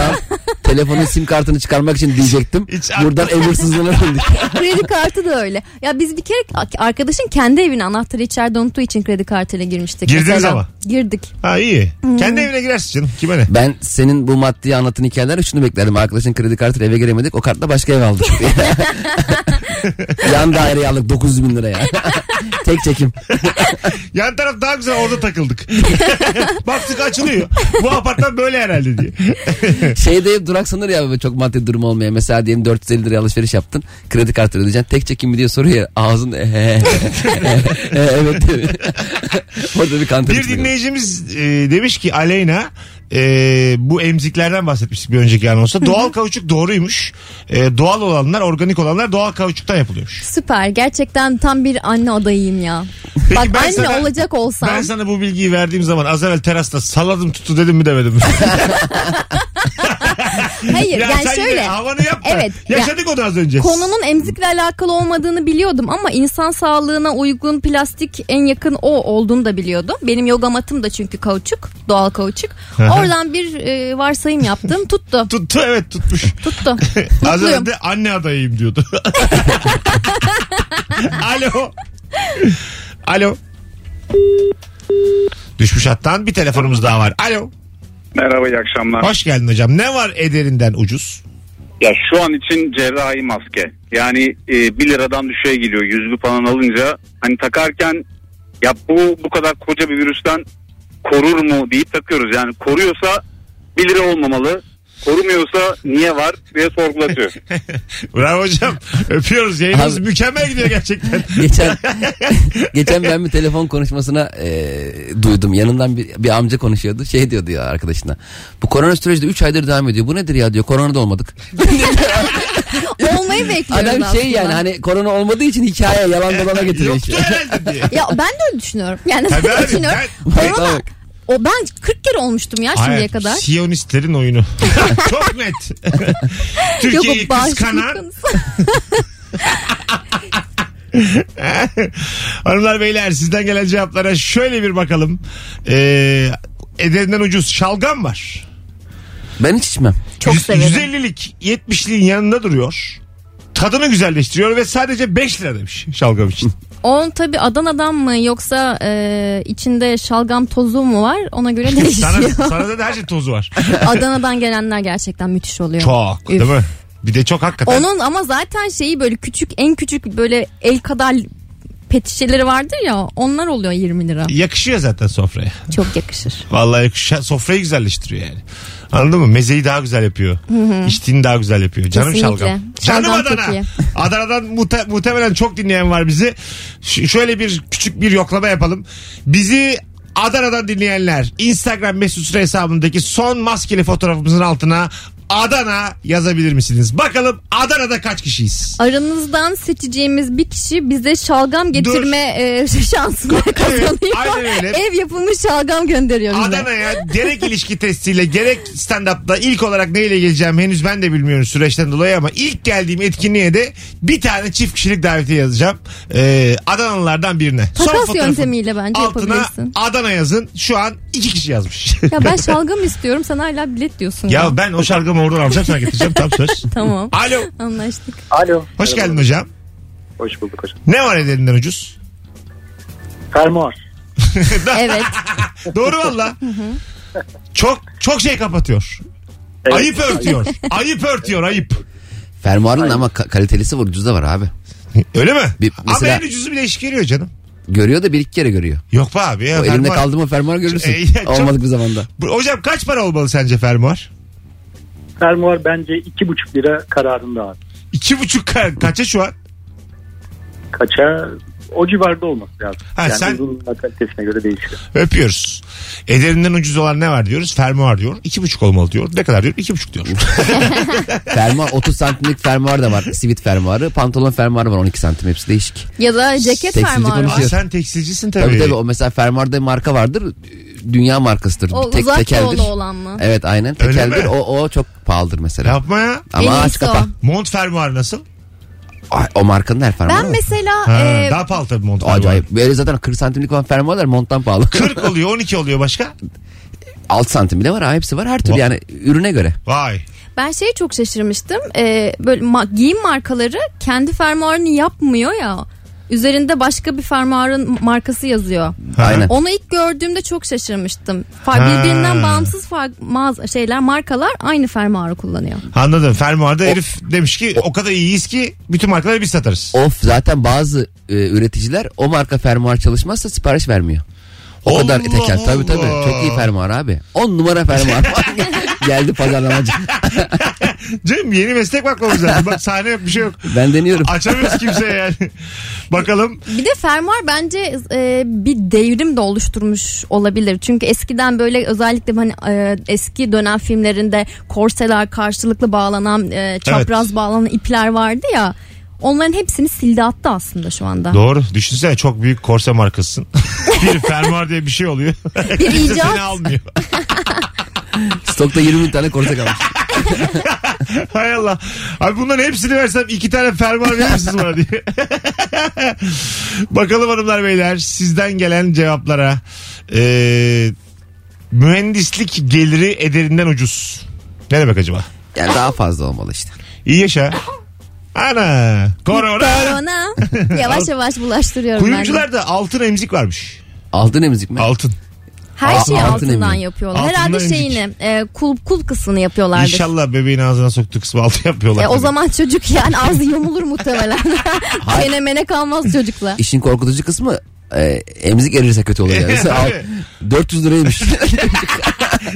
[SPEAKER 4] telefonun sim kartını çıkarmak için diyecektim.
[SPEAKER 2] Hiç
[SPEAKER 4] Buradan ev hırsızlığına döndük.
[SPEAKER 3] kredi kartı da öyle. Ya biz bir kere arkadaşın kendi evine anahtarı içeride unuttuğu için kredi kartıyla girmiştik.
[SPEAKER 2] Girdiniz
[SPEAKER 3] mesela.
[SPEAKER 2] ama.
[SPEAKER 3] Girdik.
[SPEAKER 2] Ha iyi. Kendi evine girersin canım. Kime ne?
[SPEAKER 4] Ben senin bu maddeyi anlattığın hikayelerde şunu beklerdim. Arkadaşın kredi kartıyla eve giremedik. O kartla başka ev aldık. Yan daireye aldık 900 bin liraya. Tek çekim.
[SPEAKER 2] Yan taraf daha güzel orada takıldık. Baktık açılıyor. Bu apartman böyle herhalde diye.
[SPEAKER 4] Şeyde hep duraksanır ya böyle çok maddi durum olmaya. Mesela diyelim 450 liraya alışveriş yaptın. Kredi kartı ödeyeceksin. Tek çekim mi diye soruyor ya. Ağzın e, "He, he, he, he, evet diyor. Orada bir kantar.
[SPEAKER 2] Bir dinleyicimiz e, demiş ki Aleyna e, bu emziklerden bahsetmiştik bir önceki anonsa. Doğal kauçuk doğruymuş. E, doğal olanlar, organik olanlar doğal kauçuktan yapılıyormuş.
[SPEAKER 3] Süper. Gerçekten tam bir anne adayıyım ya.
[SPEAKER 2] Peki
[SPEAKER 3] Bak
[SPEAKER 2] ben
[SPEAKER 3] anne
[SPEAKER 2] sana-
[SPEAKER 3] olacak olsam.
[SPEAKER 2] Ben sana bu bilgiyi verdiğim zaman az evvel terasta saladım tuttu dedim mi demedim mi?
[SPEAKER 3] Hayır
[SPEAKER 2] ya
[SPEAKER 3] yani
[SPEAKER 2] sen yine
[SPEAKER 3] şöyle.
[SPEAKER 2] havanı yap da.
[SPEAKER 3] Evet,
[SPEAKER 2] Yaşadık onu az önce.
[SPEAKER 3] Konunun emzikle alakalı olmadığını biliyordum ama insan sağlığına uygun plastik en yakın o olduğunu da biliyordum. Benim yoga matım da çünkü kauçuk, doğal kauçuk.
[SPEAKER 2] hı.
[SPEAKER 3] Oradan bir e, varsayım yaptım, tuttu.
[SPEAKER 2] Tuttu evet tutmuş.
[SPEAKER 3] tuttu.
[SPEAKER 2] Az
[SPEAKER 3] Mutluyum.
[SPEAKER 2] evvel de anne adayıyım diyordu. Alo. Alo. Düşmüş hattan bir telefonumuz daha var. Alo.
[SPEAKER 9] Merhaba iyi akşamlar.
[SPEAKER 2] Hoş geldin hocam. Ne var ederinden ucuz?
[SPEAKER 9] Ya şu an için cerrahi maske. Yani e, 1 liradan düşüğe geliyor yüzlü falan alınca. Hani takarken ya bu bu kadar koca bir virüsten korur mu deyip takıyoruz. Yani koruyorsa 1 lira olmamalı. Korumuyorsa niye var diye sorgulatıyor.
[SPEAKER 2] Bravo hocam. Öpüyoruz. Yayınımız
[SPEAKER 4] Abi-
[SPEAKER 2] mükemmel gidiyor gerçekten.
[SPEAKER 4] Geçen geçen ben bir telefon konuşmasına e, duydum. Yanından bir, bir amca konuşuyordu. Şey diyordu ya arkadaşına. Bu korona süreci de 3 aydır devam ediyor. Bu nedir ya diyor. Korona da olmadık.
[SPEAKER 3] Olmayı bekliyorum
[SPEAKER 4] Adam
[SPEAKER 3] aslında.
[SPEAKER 4] şey yani hani korona olmadığı için hikaye yalan dolana getiriyor.
[SPEAKER 2] Yoktu
[SPEAKER 4] işte.
[SPEAKER 2] herhalde diye.
[SPEAKER 3] Ya ben de öyle düşünüyorum. Yani
[SPEAKER 2] Tabii abi,
[SPEAKER 3] düşünüyorum.
[SPEAKER 2] ben-
[SPEAKER 3] Korona,
[SPEAKER 4] Bak.
[SPEAKER 3] o ben 40 kere olmuştum ya şimdiye
[SPEAKER 2] Hayır,
[SPEAKER 3] kadar.
[SPEAKER 2] Siyonistlerin oyunu. Çok net.
[SPEAKER 3] Yok,
[SPEAKER 2] Türkiye'yi
[SPEAKER 3] o bağışıklık
[SPEAKER 2] kıskanan
[SPEAKER 3] konusu.
[SPEAKER 2] Hanımlar beyler sizden gelen cevaplara şöyle bir bakalım. Ee, ederinden ucuz şalgam var.
[SPEAKER 4] Ben hiç içmem.
[SPEAKER 3] Çok
[SPEAKER 2] Yüz-
[SPEAKER 3] severim.
[SPEAKER 2] 150'lik 70'liğin yanında duruyor. Tadını güzelleştiriyor ve sadece 5 lira demiş şalgam için.
[SPEAKER 3] On tabi Adana'dan mı yoksa e, içinde şalgam tozu mu var ona göre
[SPEAKER 2] sana,
[SPEAKER 3] değişiyor.
[SPEAKER 2] sana da her şey tozu var.
[SPEAKER 3] Adana'dan gelenler gerçekten müthiş oluyor.
[SPEAKER 2] Çok değil
[SPEAKER 3] Üf.
[SPEAKER 2] mi? Bir de çok hakikaten.
[SPEAKER 3] Onun ama zaten şeyi böyle küçük en küçük böyle el kadar pet şişeleri vardır ya onlar oluyor 20 lira.
[SPEAKER 2] Yakışıyor zaten sofraya.
[SPEAKER 3] Çok yakışır.
[SPEAKER 2] Vallahi yakışıyor. Sofrayı güzelleştiriyor yani. Anladın mı? Mezeyi daha güzel yapıyor. İçtiğini daha güzel yapıyor. Canım
[SPEAKER 3] Kesinlikle.
[SPEAKER 2] şalgam.
[SPEAKER 3] Şalgam
[SPEAKER 2] Canım
[SPEAKER 3] çok
[SPEAKER 2] Adana.
[SPEAKER 3] iyi.
[SPEAKER 2] Adana'dan mute- muhtemelen çok dinleyen var bizi. Ş- şöyle bir küçük bir yoklama yapalım. Bizi Adana'dan dinleyenler Instagram mesut süre hesabındaki son maskeli fotoğrafımızın altına Adana yazabilir misiniz? Bakalım Adana'da kaç kişiyiz?
[SPEAKER 3] Aranızdan seçeceğimiz bir kişi bize şalgam getirme e, şansını
[SPEAKER 2] aynen öyle.
[SPEAKER 3] kazanıyor. Ev yapımı şalgam gönderiyor bize.
[SPEAKER 2] Adana'ya gerek ilişki testiyle gerek stand-up'la ilk olarak neyle geleceğim henüz ben de bilmiyorum süreçten dolayı ama ilk geldiğim etkinliğe de bir tane çift kişilik davetiye yazacağım. Ee, Adanalılardan birine.
[SPEAKER 3] Takas
[SPEAKER 2] fotoğrafın
[SPEAKER 3] yöntemiyle bence yapabilirsin.
[SPEAKER 2] Adana yazın. Şu an iki kişi yazmış.
[SPEAKER 3] Ya ben şalgam istiyorum sen hala bilet diyorsun. Ya,
[SPEAKER 2] ya ben o şarkımı oradan alacağım sana getireceğim tam söz.
[SPEAKER 3] Tamam
[SPEAKER 2] Alo
[SPEAKER 3] anlaştık.
[SPEAKER 5] Alo.
[SPEAKER 2] hoş geldin hocam.
[SPEAKER 5] Hoş bulduk hocam.
[SPEAKER 2] Ne var ederinden ucuz?
[SPEAKER 5] Fermuar.
[SPEAKER 3] Evet.
[SPEAKER 2] Doğru valla. çok çok şey kapatıyor.
[SPEAKER 5] Evet.
[SPEAKER 2] Ayıp örtüyor. ayıp örtüyor ayıp.
[SPEAKER 4] Fermuarın da ama ka- kalitelisi var ucuz da var abi.
[SPEAKER 2] Öyle mi?
[SPEAKER 4] Bir-
[SPEAKER 2] Ama
[SPEAKER 4] mesela-
[SPEAKER 2] en ucuzu bile iş geliyor canım.
[SPEAKER 4] Görüyor da bir iki kere görüyor.
[SPEAKER 2] Yok be abi. Ya,
[SPEAKER 4] O elinde
[SPEAKER 2] fermuar-
[SPEAKER 4] kaldı mı fermuar Şey, görürsün.
[SPEAKER 2] E, ya çok-
[SPEAKER 4] Olmadık bir zamanda.
[SPEAKER 2] Bu- Hocam kaç para olmalı sence fermuar?
[SPEAKER 5] Fermuar bence 2,5 lira kararında abi.
[SPEAKER 2] İki buçuk ka- kaça şu an?
[SPEAKER 5] Kaça o civarda olması lazım.
[SPEAKER 2] Ha,
[SPEAKER 5] yani
[SPEAKER 2] sen-
[SPEAKER 5] uzun kalitesine göre değişiyor.
[SPEAKER 2] Öpüyoruz. Ederinden ucuz olan ne var diyoruz? Fermuar diyor. İki buçuk olmalı diyor. Ne kadar diyor? İki buçuk diyor.
[SPEAKER 4] Fermuar 30 santimlik fermuar da var. Sivit fermuarı. Pantolon fermuarı var 12 santim. Hepsi değişik.
[SPEAKER 3] Ya da ceket
[SPEAKER 4] Tekstilci
[SPEAKER 3] fermuarı var.
[SPEAKER 2] Aa, sen tekstilcisin tabii.
[SPEAKER 4] Tabii tabii o mesela fermuarda bir marka vardır. Dünya markasıdır.
[SPEAKER 3] O
[SPEAKER 4] Tek
[SPEAKER 3] uzak
[SPEAKER 4] tekeldir.
[SPEAKER 3] doğulu olan mı?
[SPEAKER 4] Evet aynen.
[SPEAKER 2] Öyle
[SPEAKER 4] Tekeldir.
[SPEAKER 2] mi?
[SPEAKER 4] O, o çok pahalıdır mesela.
[SPEAKER 2] Yapma ya.
[SPEAKER 4] Ama
[SPEAKER 3] En
[SPEAKER 4] aç
[SPEAKER 3] iyisi
[SPEAKER 4] kapa.
[SPEAKER 2] Mont fermuar nasıl?
[SPEAKER 4] O. Ay, o markanın her fermuarı.
[SPEAKER 3] Ben
[SPEAKER 4] var.
[SPEAKER 3] mesela
[SPEAKER 2] Ha,
[SPEAKER 3] e,
[SPEAKER 2] daha pahalı tabii mont fermuar.
[SPEAKER 4] Acayip. Böyle zaten 40 santimlik olan fermuarlar monttan pahalı.
[SPEAKER 2] 40 oluyor 12 oluyor başka.
[SPEAKER 4] 6 santim bile var. ha, Hepsi var. Her
[SPEAKER 2] Va-
[SPEAKER 4] türlü yani ürüne göre.
[SPEAKER 2] Vay.
[SPEAKER 3] ben şeye çok şaşırmıştım. E, böyle ma- giyim markaları kendi fermuarını yapmıyor ya. Üzerinde başka bir fermuarın markası yazıyor.
[SPEAKER 2] Ha.
[SPEAKER 4] Aynen.
[SPEAKER 3] Onu ilk gördüğümde çok şaşırmıştım. Fa-
[SPEAKER 2] Ha.
[SPEAKER 3] Birbirinden bağımsız fark- mağaza- şeyler, markalar aynı fermuarı kullanıyor.
[SPEAKER 2] Anladım. Fermuarda herif demiş ki o kadar iyiyiz ki bütün markaları biz satarız.
[SPEAKER 4] Of zaten bazı e, üreticiler o marka fermuar çalışmazsa sipariş vermiyor. O
[SPEAKER 2] Allah
[SPEAKER 4] kadar tekel. Tabii tabii.
[SPEAKER 2] Allah.
[SPEAKER 4] Çok iyi fermuar abi. 10 numara fermuar. Geldi pazarlamacı.
[SPEAKER 2] Canım yeni meslek bakmamız lazım. Bak sahne yok bir şey yok.
[SPEAKER 4] Ben deniyorum.
[SPEAKER 2] Açamıyoruz kimseye yani. Bakalım.
[SPEAKER 3] Bir de fermuar bence e, bir devrim de oluşturmuş olabilir. Çünkü eskiden böyle özellikle hani e, eski dönem filmlerinde korseler karşılıklı bağlanan, e, çapraz bağlanan ipler vardı ya. Onların hepsini sildi attı aslında şu anda.
[SPEAKER 2] Doğru. Düşünsene çok büyük korse markasısın. bir fermuar diye bir şey oluyor.
[SPEAKER 3] Bir
[SPEAKER 2] Kimse
[SPEAKER 3] icat.
[SPEAKER 2] seni almıyor.
[SPEAKER 4] Stokta 20 bin tane korsa kalmış.
[SPEAKER 2] Hay Allah. Abi bunların hepsini versem iki tane fermuar verir misiniz bana diye. Bakalım hanımlar beyler sizden gelen cevaplara. Ee, mühendislik geliri ederinden ucuz. Ne demek acaba?
[SPEAKER 4] Yani daha fazla olmalı işte.
[SPEAKER 2] İyi yaşa. Ana. Korona.
[SPEAKER 3] Korona yavaş yavaş bulaştırıyorum ben. de.
[SPEAKER 2] Kuyumcularda altın emzik varmış.
[SPEAKER 4] Altın emzik mi?
[SPEAKER 2] Altın.
[SPEAKER 3] Her
[SPEAKER 4] Aa,
[SPEAKER 3] şeyi
[SPEAKER 4] altın
[SPEAKER 3] altından
[SPEAKER 4] emzik.
[SPEAKER 3] yapıyorlar.
[SPEAKER 2] Altından
[SPEAKER 3] Herhalde
[SPEAKER 2] emzik.
[SPEAKER 3] şeyini e, kul kul kısmını yapıyorlardır.
[SPEAKER 2] İnşallah bebeğin ağzına soktuğu kısmı altın yapıyorlar.
[SPEAKER 3] E, o zaman çocuk yani ağzı yamulur muhtemelen. Çene mene kalmaz çocukla.
[SPEAKER 4] İşin korkutucu kısmı e, emzik erirse kötü olur yani. Mesela
[SPEAKER 2] Tabii.
[SPEAKER 4] al- 400 liraymış.
[SPEAKER 3] ya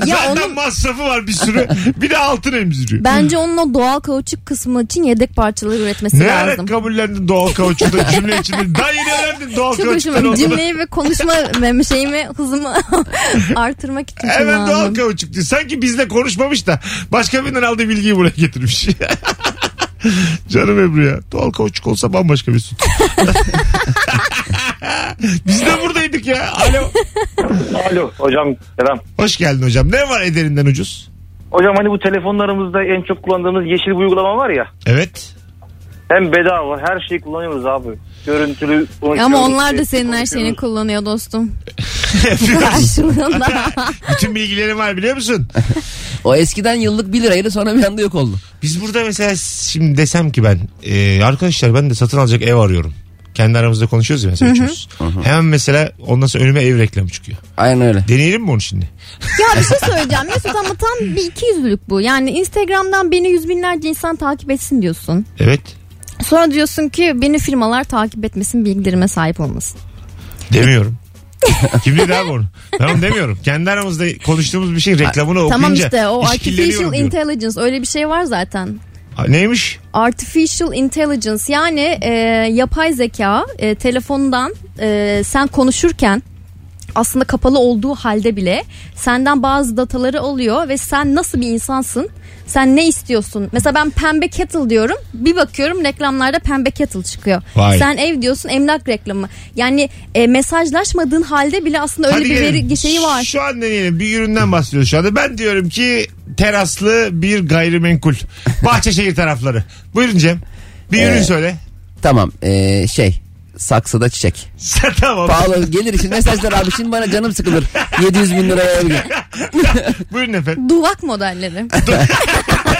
[SPEAKER 2] Zaten
[SPEAKER 3] onun
[SPEAKER 2] masrafı var bir sürü. bir de altın emziriyor.
[SPEAKER 3] bence onun o doğal kauçuk kısmı için yedek parçaları üretmesi
[SPEAKER 2] Ne ara
[SPEAKER 3] lazım.
[SPEAKER 2] kabullendin doğal kauçuğu da cümle içinde. Daha yeni öğrendin doğal
[SPEAKER 3] Çok
[SPEAKER 2] kauçuktan
[SPEAKER 3] hoşuma
[SPEAKER 2] olduğunu.
[SPEAKER 3] cümleyi ve konuşma ve şeyimi hızımı artırmak için
[SPEAKER 2] Hemen doğal
[SPEAKER 3] kullandım.
[SPEAKER 2] kauçuk diyor. Sanki bizle konuşmamış da başka birinden aldığı bilgiyi buraya getirmiş. Canım Ebru ya. Doğal kauçuk olsa bambaşka bir süt. Biz de buradaydık ya. Alo.
[SPEAKER 5] Alo hocam selam.
[SPEAKER 2] Hoş geldin hocam. Ne var ederinden ucuz?
[SPEAKER 5] Hocam hani bu telefonlarımızda en çok kullandığımız yeşil bir uygulama var ya.
[SPEAKER 2] Evet.
[SPEAKER 5] Hem bedava her şeyi kullanıyoruz abi. Görüntülü konuşuyoruz.
[SPEAKER 3] Ama onlar da
[SPEAKER 5] sesli
[SPEAKER 3] senin her şeyini
[SPEAKER 5] konuşuyoruz.
[SPEAKER 3] kullanıyor dostum. Karşılığında.
[SPEAKER 2] Bütün bilgilerim var biliyor musun?
[SPEAKER 4] o eskiden yıllık 1 liraydı sonra bir anda yok oldu.
[SPEAKER 2] Biz burada mesela şimdi desem ki ben e, arkadaşlar ben de satın alacak ev arıyorum. Kendi aramızda konuşuyoruz ya mesela üçümüz. Hemen mesela ondan sonra önüme ev reklamı çıkıyor.
[SPEAKER 4] Aynen öyle.
[SPEAKER 2] Deneyelim mi onu şimdi?
[SPEAKER 3] Ya bir şey söyleyeceğim Mesut ama tam bir ikiyüzlülük bu. Yani Instagram'dan beni yüz binlerce insan takip etsin diyorsun.
[SPEAKER 2] Evet.
[SPEAKER 3] Sonra diyorsun ki beni firmalar takip etmesin bilgilerime sahip olmasın.
[SPEAKER 2] Demiyorum. Kim dedi abi onu? Ben onu demiyorum. Kendi aramızda konuştuğumuz bir şey reklamını okuyunca
[SPEAKER 3] tamam işte o
[SPEAKER 2] işkilleniyorum
[SPEAKER 3] artificial
[SPEAKER 2] diyorum.
[SPEAKER 3] intelligence öyle bir şey var zaten.
[SPEAKER 2] Ha, Neymiş?
[SPEAKER 3] Artificial intelligence yani e, yapay zeka e, telefondan e, sen konuşurken aslında kapalı olduğu halde bile senden bazı dataları alıyor ve sen nasıl bir insansın? Sen ne istiyorsun? Mesela ben pembe kettle diyorum. Bir bakıyorum reklamlarda pembe kettle çıkıyor.
[SPEAKER 2] Vay.
[SPEAKER 3] Sen ev diyorsun emlak reklamı. Yani e, mesajlaşmadığın halde bile aslında öyle
[SPEAKER 2] Hadi
[SPEAKER 3] bir
[SPEAKER 2] gelin.
[SPEAKER 3] veri şeyi var.
[SPEAKER 2] Şu an deneyelim. Bir üründen bahsediyoruz şu anda. Ben diyorum ki teraslı bir gayrimenkul. Bahçeşehir tarafları. Buyurun Cem. Bir
[SPEAKER 3] Ee,
[SPEAKER 2] ürün söyle.
[SPEAKER 4] Tamam ee, şey saksıda çiçek.
[SPEAKER 2] Sen tamam.
[SPEAKER 4] Pahalı gelir için mesajlar abi şimdi bana canım sıkılır. 700 bin liraya ev gel.
[SPEAKER 2] Buyurun efendim.
[SPEAKER 3] Duvak modelleri.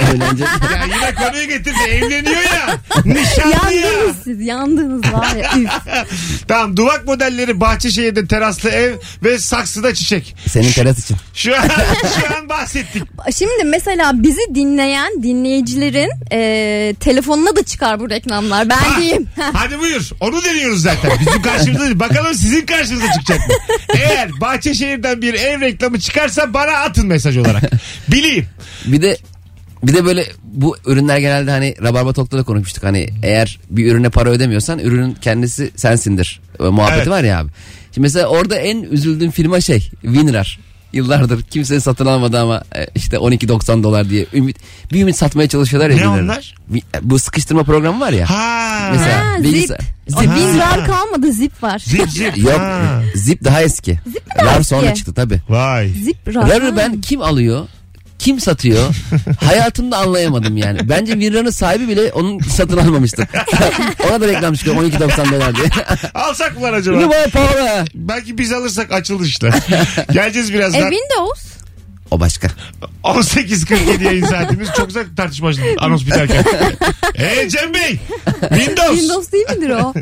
[SPEAKER 4] Eğlence.
[SPEAKER 2] Ya yine konuyu getirdi. Evleniyor ya. Nişanlı ya.
[SPEAKER 3] yandınız siz yandınız var ya. Üf.
[SPEAKER 2] Tamam duvak modelleri Bahçeşehir'de teraslı ev ve saksıda çiçek.
[SPEAKER 4] Senin teras için.
[SPEAKER 2] Şu an, şu an bahsettik.
[SPEAKER 3] Şimdi mesela bizi dinleyen dinleyicilerin e, telefonuna da çıkar bu reklamlar.
[SPEAKER 2] Ah.
[SPEAKER 3] Ben diyeyim.
[SPEAKER 2] Hadi buyur. Onu deniyoruz zaten. Bizim karşımıza değil. Bakalım sizin karşınıza çıkacak mı? Eğer Bahçeşehir'den bir ev reklamı çıkarsa bana atın mesaj olarak. Bileyim.
[SPEAKER 4] Bir de bir de böyle bu ürünler genelde hani Rabarba Talk'ta da konuşmuştuk. Hani eğer bir ürüne para ödemiyorsan ürünün kendisi sensindir. E, muhabbeti
[SPEAKER 2] Evet.
[SPEAKER 4] var ya abi. Şimdi mesela orada en üzüldüğüm firma şey Winrar. Yıllardır kimse satın almadı ama e, işte 12.90 dolar diye ümit bir ümit satmaya çalışıyorlar ya
[SPEAKER 2] Ne
[SPEAKER 4] Winr'ı.
[SPEAKER 2] onlar?
[SPEAKER 4] Vi- Bu sıkıştırma programı var ya.
[SPEAKER 2] Ha.
[SPEAKER 4] Mesela
[SPEAKER 3] Ha, zip.
[SPEAKER 4] bilgisayar- Zip.
[SPEAKER 3] e, Bin var kalmadı zip var.
[SPEAKER 2] Zip zip.
[SPEAKER 4] Yok,
[SPEAKER 2] Ha.
[SPEAKER 4] Zip daha eski.
[SPEAKER 3] daha
[SPEAKER 4] Rar
[SPEAKER 3] eski?
[SPEAKER 4] sonra çıktı tabi.
[SPEAKER 2] Vay.
[SPEAKER 3] Zip rar.
[SPEAKER 4] Rar'ı ben kim alıyor? Kim satıyor? Hayatımda anlayamadım yani. Bence Winrar'ın sahibi bile onun satın almamıştı. Ona da reklam çıkıyor 12.90 dolar diye.
[SPEAKER 2] Alsak mı lan acaba?
[SPEAKER 4] Bunu bana pahalı.
[SPEAKER 2] Belki biz alırsak açılır işte. Geleceğiz
[SPEAKER 3] E,
[SPEAKER 2] birazdan.
[SPEAKER 3] Windows.
[SPEAKER 4] O başka.
[SPEAKER 2] 18.47 yayın saatimiz. Çok güzel tartışma açtık anons biterken. Eee Cem Bey. Windows.
[SPEAKER 3] Windows değil midir o?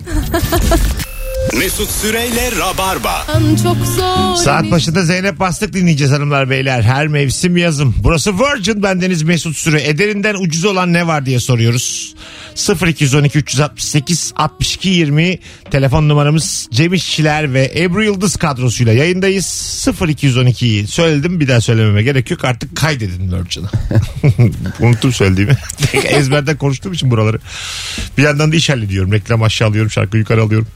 [SPEAKER 1] Mesut Süreyle Rabarba.
[SPEAKER 10] Çok zor.
[SPEAKER 2] Saat başında Zeynep Bastık dinleyeceğiz hanımlar beyler. Her mevsim yazım. Burası Virgin bendeniz Mesut Süre. Ederinden ucuz olan ne var diye soruyoruz. 0212 368 62 20 telefon numaramız Cem İşçiler ve Ebru Yıldız kadrosuyla yayındayız. 0212'yi söyledim bir daha söylememe gerek yok artık kaydedin Virgin'ı. Unuttum söylediğimi. Ezberden konuştuğum için buraları. Bir yandan da iş hallediyorum. Reklam aşağı alıyorum şarkı yukarı alıyorum.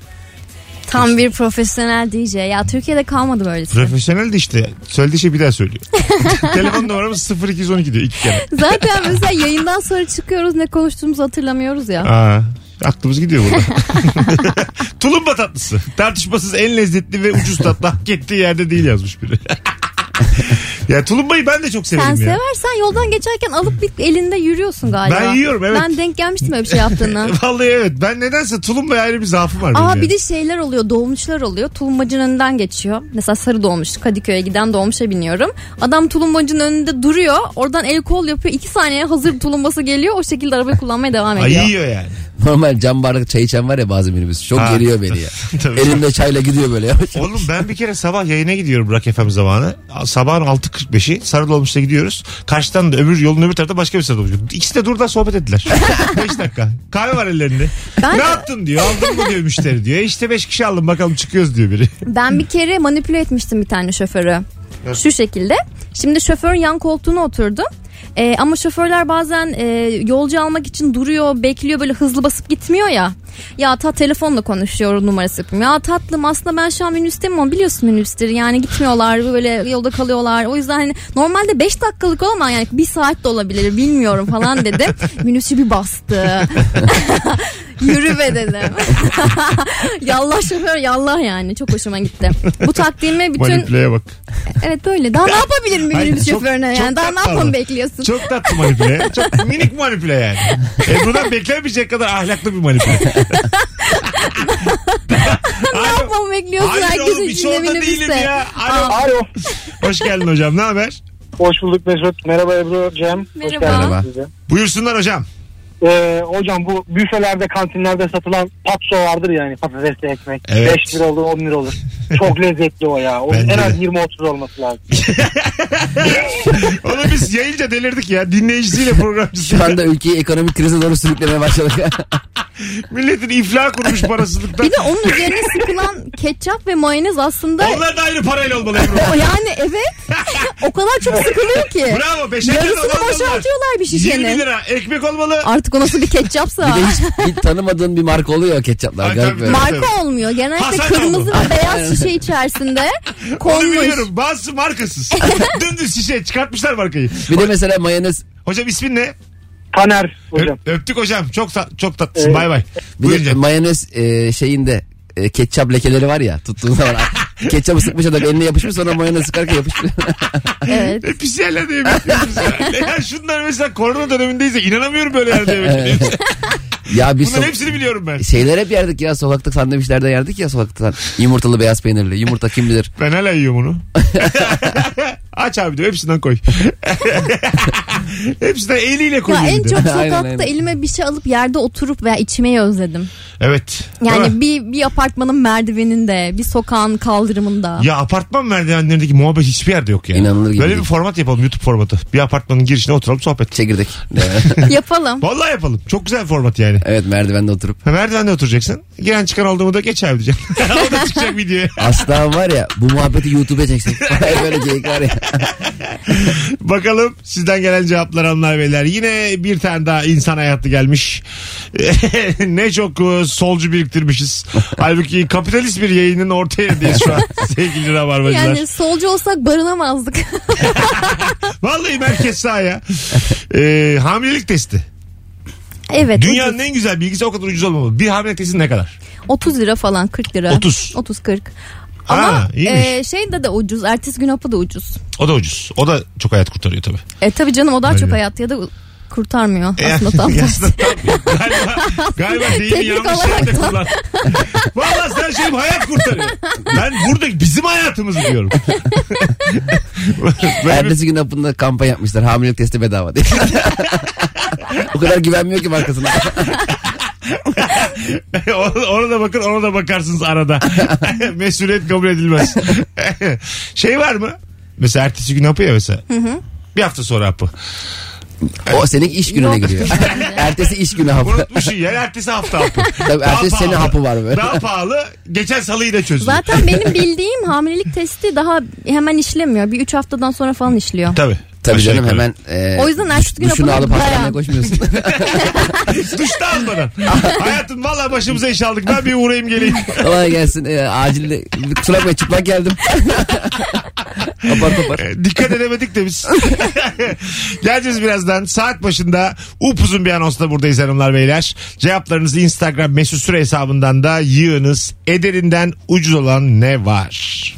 [SPEAKER 3] Tam bir profesyonel DJ. Ya Türkiye'de kalmadı şey. böylesi.
[SPEAKER 2] Profesyonel de işte. Söylediği şey bir daha söylüyor. Telefon numaramız 0212 diyor. iki kere.
[SPEAKER 3] Zaten mesela yayından sonra çıkıyoruz ne konuştuğumuzu hatırlamıyoruz ya.
[SPEAKER 2] Aa, aklımız gidiyor burada. Tulumba tatlısı. Tartışmasız en lezzetli ve ucuz tatlı hak ettiği yerde değil yazmış biri. ya tulumbayı ben de çok severim
[SPEAKER 3] Sen
[SPEAKER 2] ya.
[SPEAKER 3] seversen yoldan geçerken alıp bir elinde yürüyorsun galiba.
[SPEAKER 2] Ben yiyorum, evet.
[SPEAKER 3] Ben denk gelmiştim öyle bir şey yaptığına.
[SPEAKER 2] Vallahi evet. Ben nedense tulumbaya ayrı bir zaafım var.
[SPEAKER 3] Aa
[SPEAKER 2] benim
[SPEAKER 3] bir
[SPEAKER 2] ya.
[SPEAKER 3] de şeyler oluyor dolmuşlar oluyor tulumbacının önünden geçiyor. Mesela sarı dolmuş Kadıköy'e giden dolmuşa biniyorum. Adam tulumbacının önünde duruyor oradan el kol yapıyor. iki saniye hazır bir tulumbası geliyor o şekilde arabayı kullanmaya devam
[SPEAKER 2] Ay
[SPEAKER 3] ediyor.
[SPEAKER 2] yiyor yani.
[SPEAKER 4] Normal cam bardak çay içen var ya bazı minibüs. Çok
[SPEAKER 2] Ha.
[SPEAKER 4] geriyor beni ya.
[SPEAKER 2] Tabii.
[SPEAKER 4] Elinde çayla gidiyor böyle yavaş.
[SPEAKER 2] Oğlum ben bir kere sabah yayına gidiyorum Rock FM zamanı. Sabahın 6.45'i Sarıdolmuş'ta gidiyoruz. Karşıdan da öbür yolun öbür tarafta başka bir Sarıdolmuş. İkisi de durdular sohbet ettiler. 5 dakika. Kahve var ellerinde. Ne yaptın diyor. Aldın mı diyor müşteri diyor. "E İşte 5 kişi aldım bakalım çıkıyoruz diyor biri.
[SPEAKER 3] Ben bir kere manipüle etmiştim bir tane şoförü. Şu şekilde. Şimdi şoförün yan koltuğuna oturdu. Ee, ama şoförler bazen e, yolcu almak için duruyor, bekliyor böyle hızlı basıp gitmiyor ya. Ya ta telefonla konuşuyor numarası yapayım. Ya tatlım aslında ben şu an minibüsteyim ama biliyorsun minibüsleri yani gitmiyorlar böyle yolda kalıyorlar. O yüzden hani normalde 5 dakikalık olma yani bir saat de olabilir bilmiyorum falan dedim. Minibüsçü bir bastı. Yürü be dedim. yallah şoför yallah yani çok hoşuma gitti. Bu taktiğimi bütün
[SPEAKER 2] Manipüleye bak.
[SPEAKER 3] Evet böyle. Daha ne yapabilirim bir
[SPEAKER 2] Hayır,
[SPEAKER 3] minibüs
[SPEAKER 2] çok-
[SPEAKER 3] şoförüne
[SPEAKER 2] çok
[SPEAKER 3] yani? Daha ne
[SPEAKER 2] tatlı
[SPEAKER 3] yapmamı
[SPEAKER 2] adam.
[SPEAKER 3] bekliyorsun?
[SPEAKER 2] Çok tatlı manipüle. Çok minik manipüle yani. Ebru'dan beklenmeyecek kadar ahlaklı bir manipüle.
[SPEAKER 3] ne yapmamı bekliyorsun
[SPEAKER 2] Hayır
[SPEAKER 3] herkesin
[SPEAKER 2] oğlum hiç
[SPEAKER 3] içinde
[SPEAKER 2] orada değilim
[SPEAKER 3] minibüse?
[SPEAKER 2] ya. Alo.
[SPEAKER 7] Alo.
[SPEAKER 2] Hoş geldin hocam ne haber?
[SPEAKER 7] Hoş bulduk Mesut. Merhaba Ebru, Cem.
[SPEAKER 3] Merhaba.
[SPEAKER 7] Hoş geldiniz
[SPEAKER 4] Merhaba.
[SPEAKER 7] size.
[SPEAKER 2] Buyursunlar hocam.
[SPEAKER 7] Ee, hocam bu büfelerde kantinlerde satılan patso vardır yani patatesli ekmek.
[SPEAKER 2] Evet.
[SPEAKER 7] 5 lira olur 10 lira olur. Çok lezzetli o ya. O
[SPEAKER 2] Bence
[SPEAKER 7] en az
[SPEAKER 2] de.
[SPEAKER 7] 20-30 olması lazım.
[SPEAKER 2] Onu biz yayınca delirdik ya. Dinleyicisiyle
[SPEAKER 4] Şu
[SPEAKER 2] programcısıyla.
[SPEAKER 4] anda ülkeyi ekonomik krize doğru sürüklemeye başladık.
[SPEAKER 2] Milletin iflah kurmuş parasızlıktan.
[SPEAKER 3] Bir de onun üzerine sıkılan ketçap ve mayonez aslında
[SPEAKER 2] Onlar da aynı parayla olmalı Ebru.
[SPEAKER 3] yani evet o kadar çok sıkılıyor ki.
[SPEAKER 2] Bravo. Beşer lira
[SPEAKER 3] Yarısını
[SPEAKER 2] olan onlar.
[SPEAKER 3] boşaltıyorlar bir
[SPEAKER 2] 20
[SPEAKER 3] şişenin.
[SPEAKER 2] lira ekmek olmalı.
[SPEAKER 3] Artık o nasıl bir ketçapsa.
[SPEAKER 4] Bir de hiç, hiç tanımadığın bir marka oluyor ya ketçaplar.
[SPEAKER 2] Ay,
[SPEAKER 4] Garip
[SPEAKER 2] tabii,
[SPEAKER 4] böyle.
[SPEAKER 2] tabii.
[SPEAKER 3] Marka olmuyor. Genellikle
[SPEAKER 2] Hasan
[SPEAKER 3] kırmızı
[SPEAKER 2] oldu.
[SPEAKER 3] ve beyaz şişe içerisinde
[SPEAKER 2] Onu
[SPEAKER 3] konmuş.
[SPEAKER 2] biliyorum. Bazısı markasız. Dümdüz şişe çıkartmışlar markayı.
[SPEAKER 4] Bir de mesela mayonez
[SPEAKER 2] Hocam ismin ne?
[SPEAKER 7] Taner hocam.
[SPEAKER 2] Öp- öptük hocam. Çok ta- çok tatlısın. Bay bay. Buyurun
[SPEAKER 4] Bir de
[SPEAKER 2] canım.
[SPEAKER 4] mayonez e, şeyinde e, ketçap lekeleri var ya tuttuğun zaman ketçapı sıkmış adam eline yapışmış sonra mayonez sıkarken yapışmış.
[SPEAKER 3] Evet.
[SPEAKER 2] E, pis yerlerde yemek yiyoruz ya. Ya şunlar mesela korona dönemindeyiz ya. inanamıyorum böyle yerde yemek yiyoruz.
[SPEAKER 4] ya biz
[SPEAKER 2] Bunların
[SPEAKER 4] so-
[SPEAKER 2] hepsini biliyorum ben.
[SPEAKER 4] şeyler hep yerdik ya sokakta sandviçlerde yerdik ya sokakta yumurtalı beyaz peynirli yumurta kim bilir.
[SPEAKER 2] Ben hala yiyorum onu. Aç abi diyor hepsinden koy. hepsinden eliyle koyuyor.
[SPEAKER 3] Ya en
[SPEAKER 2] bir de.
[SPEAKER 3] çok sokakta
[SPEAKER 4] Aynen, aynen.
[SPEAKER 3] elime bir şey alıp yerde oturup veya içmeyi özledim.
[SPEAKER 2] Evet. Değil mi?
[SPEAKER 3] Yani bir, bir apartmanın merdiveninde, bir sokağın kaldırımında.
[SPEAKER 2] Ya apartman merdivenlerindeki muhabbet hiçbir yerde yok yani.
[SPEAKER 4] İnanılır gibi
[SPEAKER 2] Böyle
[SPEAKER 4] değil.
[SPEAKER 2] bir format yapalım YouTube formatı. Bir apartmanın girişine oturalım sohbet.
[SPEAKER 4] Çekirdek.
[SPEAKER 3] Yapalım.
[SPEAKER 2] Vallahi yapalım. Çok güzel bir format yani.
[SPEAKER 4] evet merdivende oturup.
[SPEAKER 2] Ha, Merdivende oturacaksın. Giren çıkan olduğumu da geç abi diyeceğim. o da çıkacak videoya.
[SPEAKER 4] Aslan var ya bu muhabbeti YouTube'a çeksek. böyle geyikler ya.
[SPEAKER 2] Bakalım sizden gelen cevaplar hanımlar beyler. Yine bir tane daha insan hayatı gelmiş. ne çok e, solcu biriktirmişiz. Halbuki kapitalist bir yayının orta yerindeyiz şu an sevgili rabarbacılar.
[SPEAKER 3] Yani solcu olsak barınamazdık.
[SPEAKER 2] Vallahi merkez sağ ya. E, hamilelik testi.
[SPEAKER 3] evet.
[SPEAKER 2] Dünyanın
[SPEAKER 3] 30,
[SPEAKER 2] en güzel bilgisi o kadar ucuz olmamalı. Bir hamilelik testi ne kadar?
[SPEAKER 3] 30 lira falan 40 lira.
[SPEAKER 2] 30.
[SPEAKER 3] 30 40.
[SPEAKER 2] Ha,
[SPEAKER 3] Ama
[SPEAKER 2] iyiymiş.
[SPEAKER 3] e, şey de de ucuz. Ertesi gün hapı da ucuz.
[SPEAKER 2] O da ucuz. O da çok hayat kurtarıyor tabii.
[SPEAKER 3] E tabii canım o daha
[SPEAKER 2] Öyle.
[SPEAKER 3] çok hayat ya da kurtarmıyor
[SPEAKER 2] E,
[SPEAKER 3] aslında tam tersi.
[SPEAKER 2] aslında tam- galiba galiba deyimi
[SPEAKER 3] Teknik
[SPEAKER 2] yanlış
[SPEAKER 3] olarak
[SPEAKER 2] yerde
[SPEAKER 3] da.
[SPEAKER 2] kullan. Valla sen şeyim hayat kurtarıyor. Ben burada bizim hayatımızı diyorum. Böyle bir-
[SPEAKER 4] Ertesi gün hapında kampanya yapmışlar hamilelik testi bedava diye. o kadar güvenmiyor ki markasına.
[SPEAKER 2] ona, ona da bakın ona da bakarsınız arada. Mesuliyet kabul edilmez. şey var mı? Mesela ertesi gün hapı ya mesela. Bir hafta sonra hapı.
[SPEAKER 4] O senin iş gününe
[SPEAKER 3] Yok.
[SPEAKER 4] giriyor. ertesi iş günü hapı.
[SPEAKER 2] Unutmuşsun ya ertesi hafta hapı.
[SPEAKER 4] Tabii
[SPEAKER 2] Daha
[SPEAKER 4] ertesi sene
[SPEAKER 2] pahalı.
[SPEAKER 4] hapı var böyle.
[SPEAKER 2] Daha pahalı. Geçen salıyı da çözdüm.
[SPEAKER 3] Zaten benim bildiğim hamilelik testi daha hemen işlemiyor. Bir 3 haftadan sonra falan işliyor.
[SPEAKER 2] Tabii.
[SPEAKER 4] Tabii
[SPEAKER 2] Aşağı
[SPEAKER 4] canım
[SPEAKER 2] yukarı.
[SPEAKER 4] hemen e,
[SPEAKER 3] O yüzden ertesi gün
[SPEAKER 4] duşunu
[SPEAKER 3] hapını
[SPEAKER 4] alıp hastaneye
[SPEAKER 3] dayan.
[SPEAKER 4] koşmuyorsun.
[SPEAKER 2] Duşta almadan. Hayatım valla başımıza iş aldık. Ben bir uğrayayım geleyim.
[SPEAKER 4] Kolay gelsin. E, acilde. Kusura bakma çıplak geldim. apar topar.
[SPEAKER 2] E, Dikkat edemedik de biz. Geleceğiz birazdan. Saat başında upuzun bir anonsla buradayız hanımlar beyler. Cevaplarınızı Instagram mesut süre hesabından da yığınız. Ederinden ucuz olan ne var?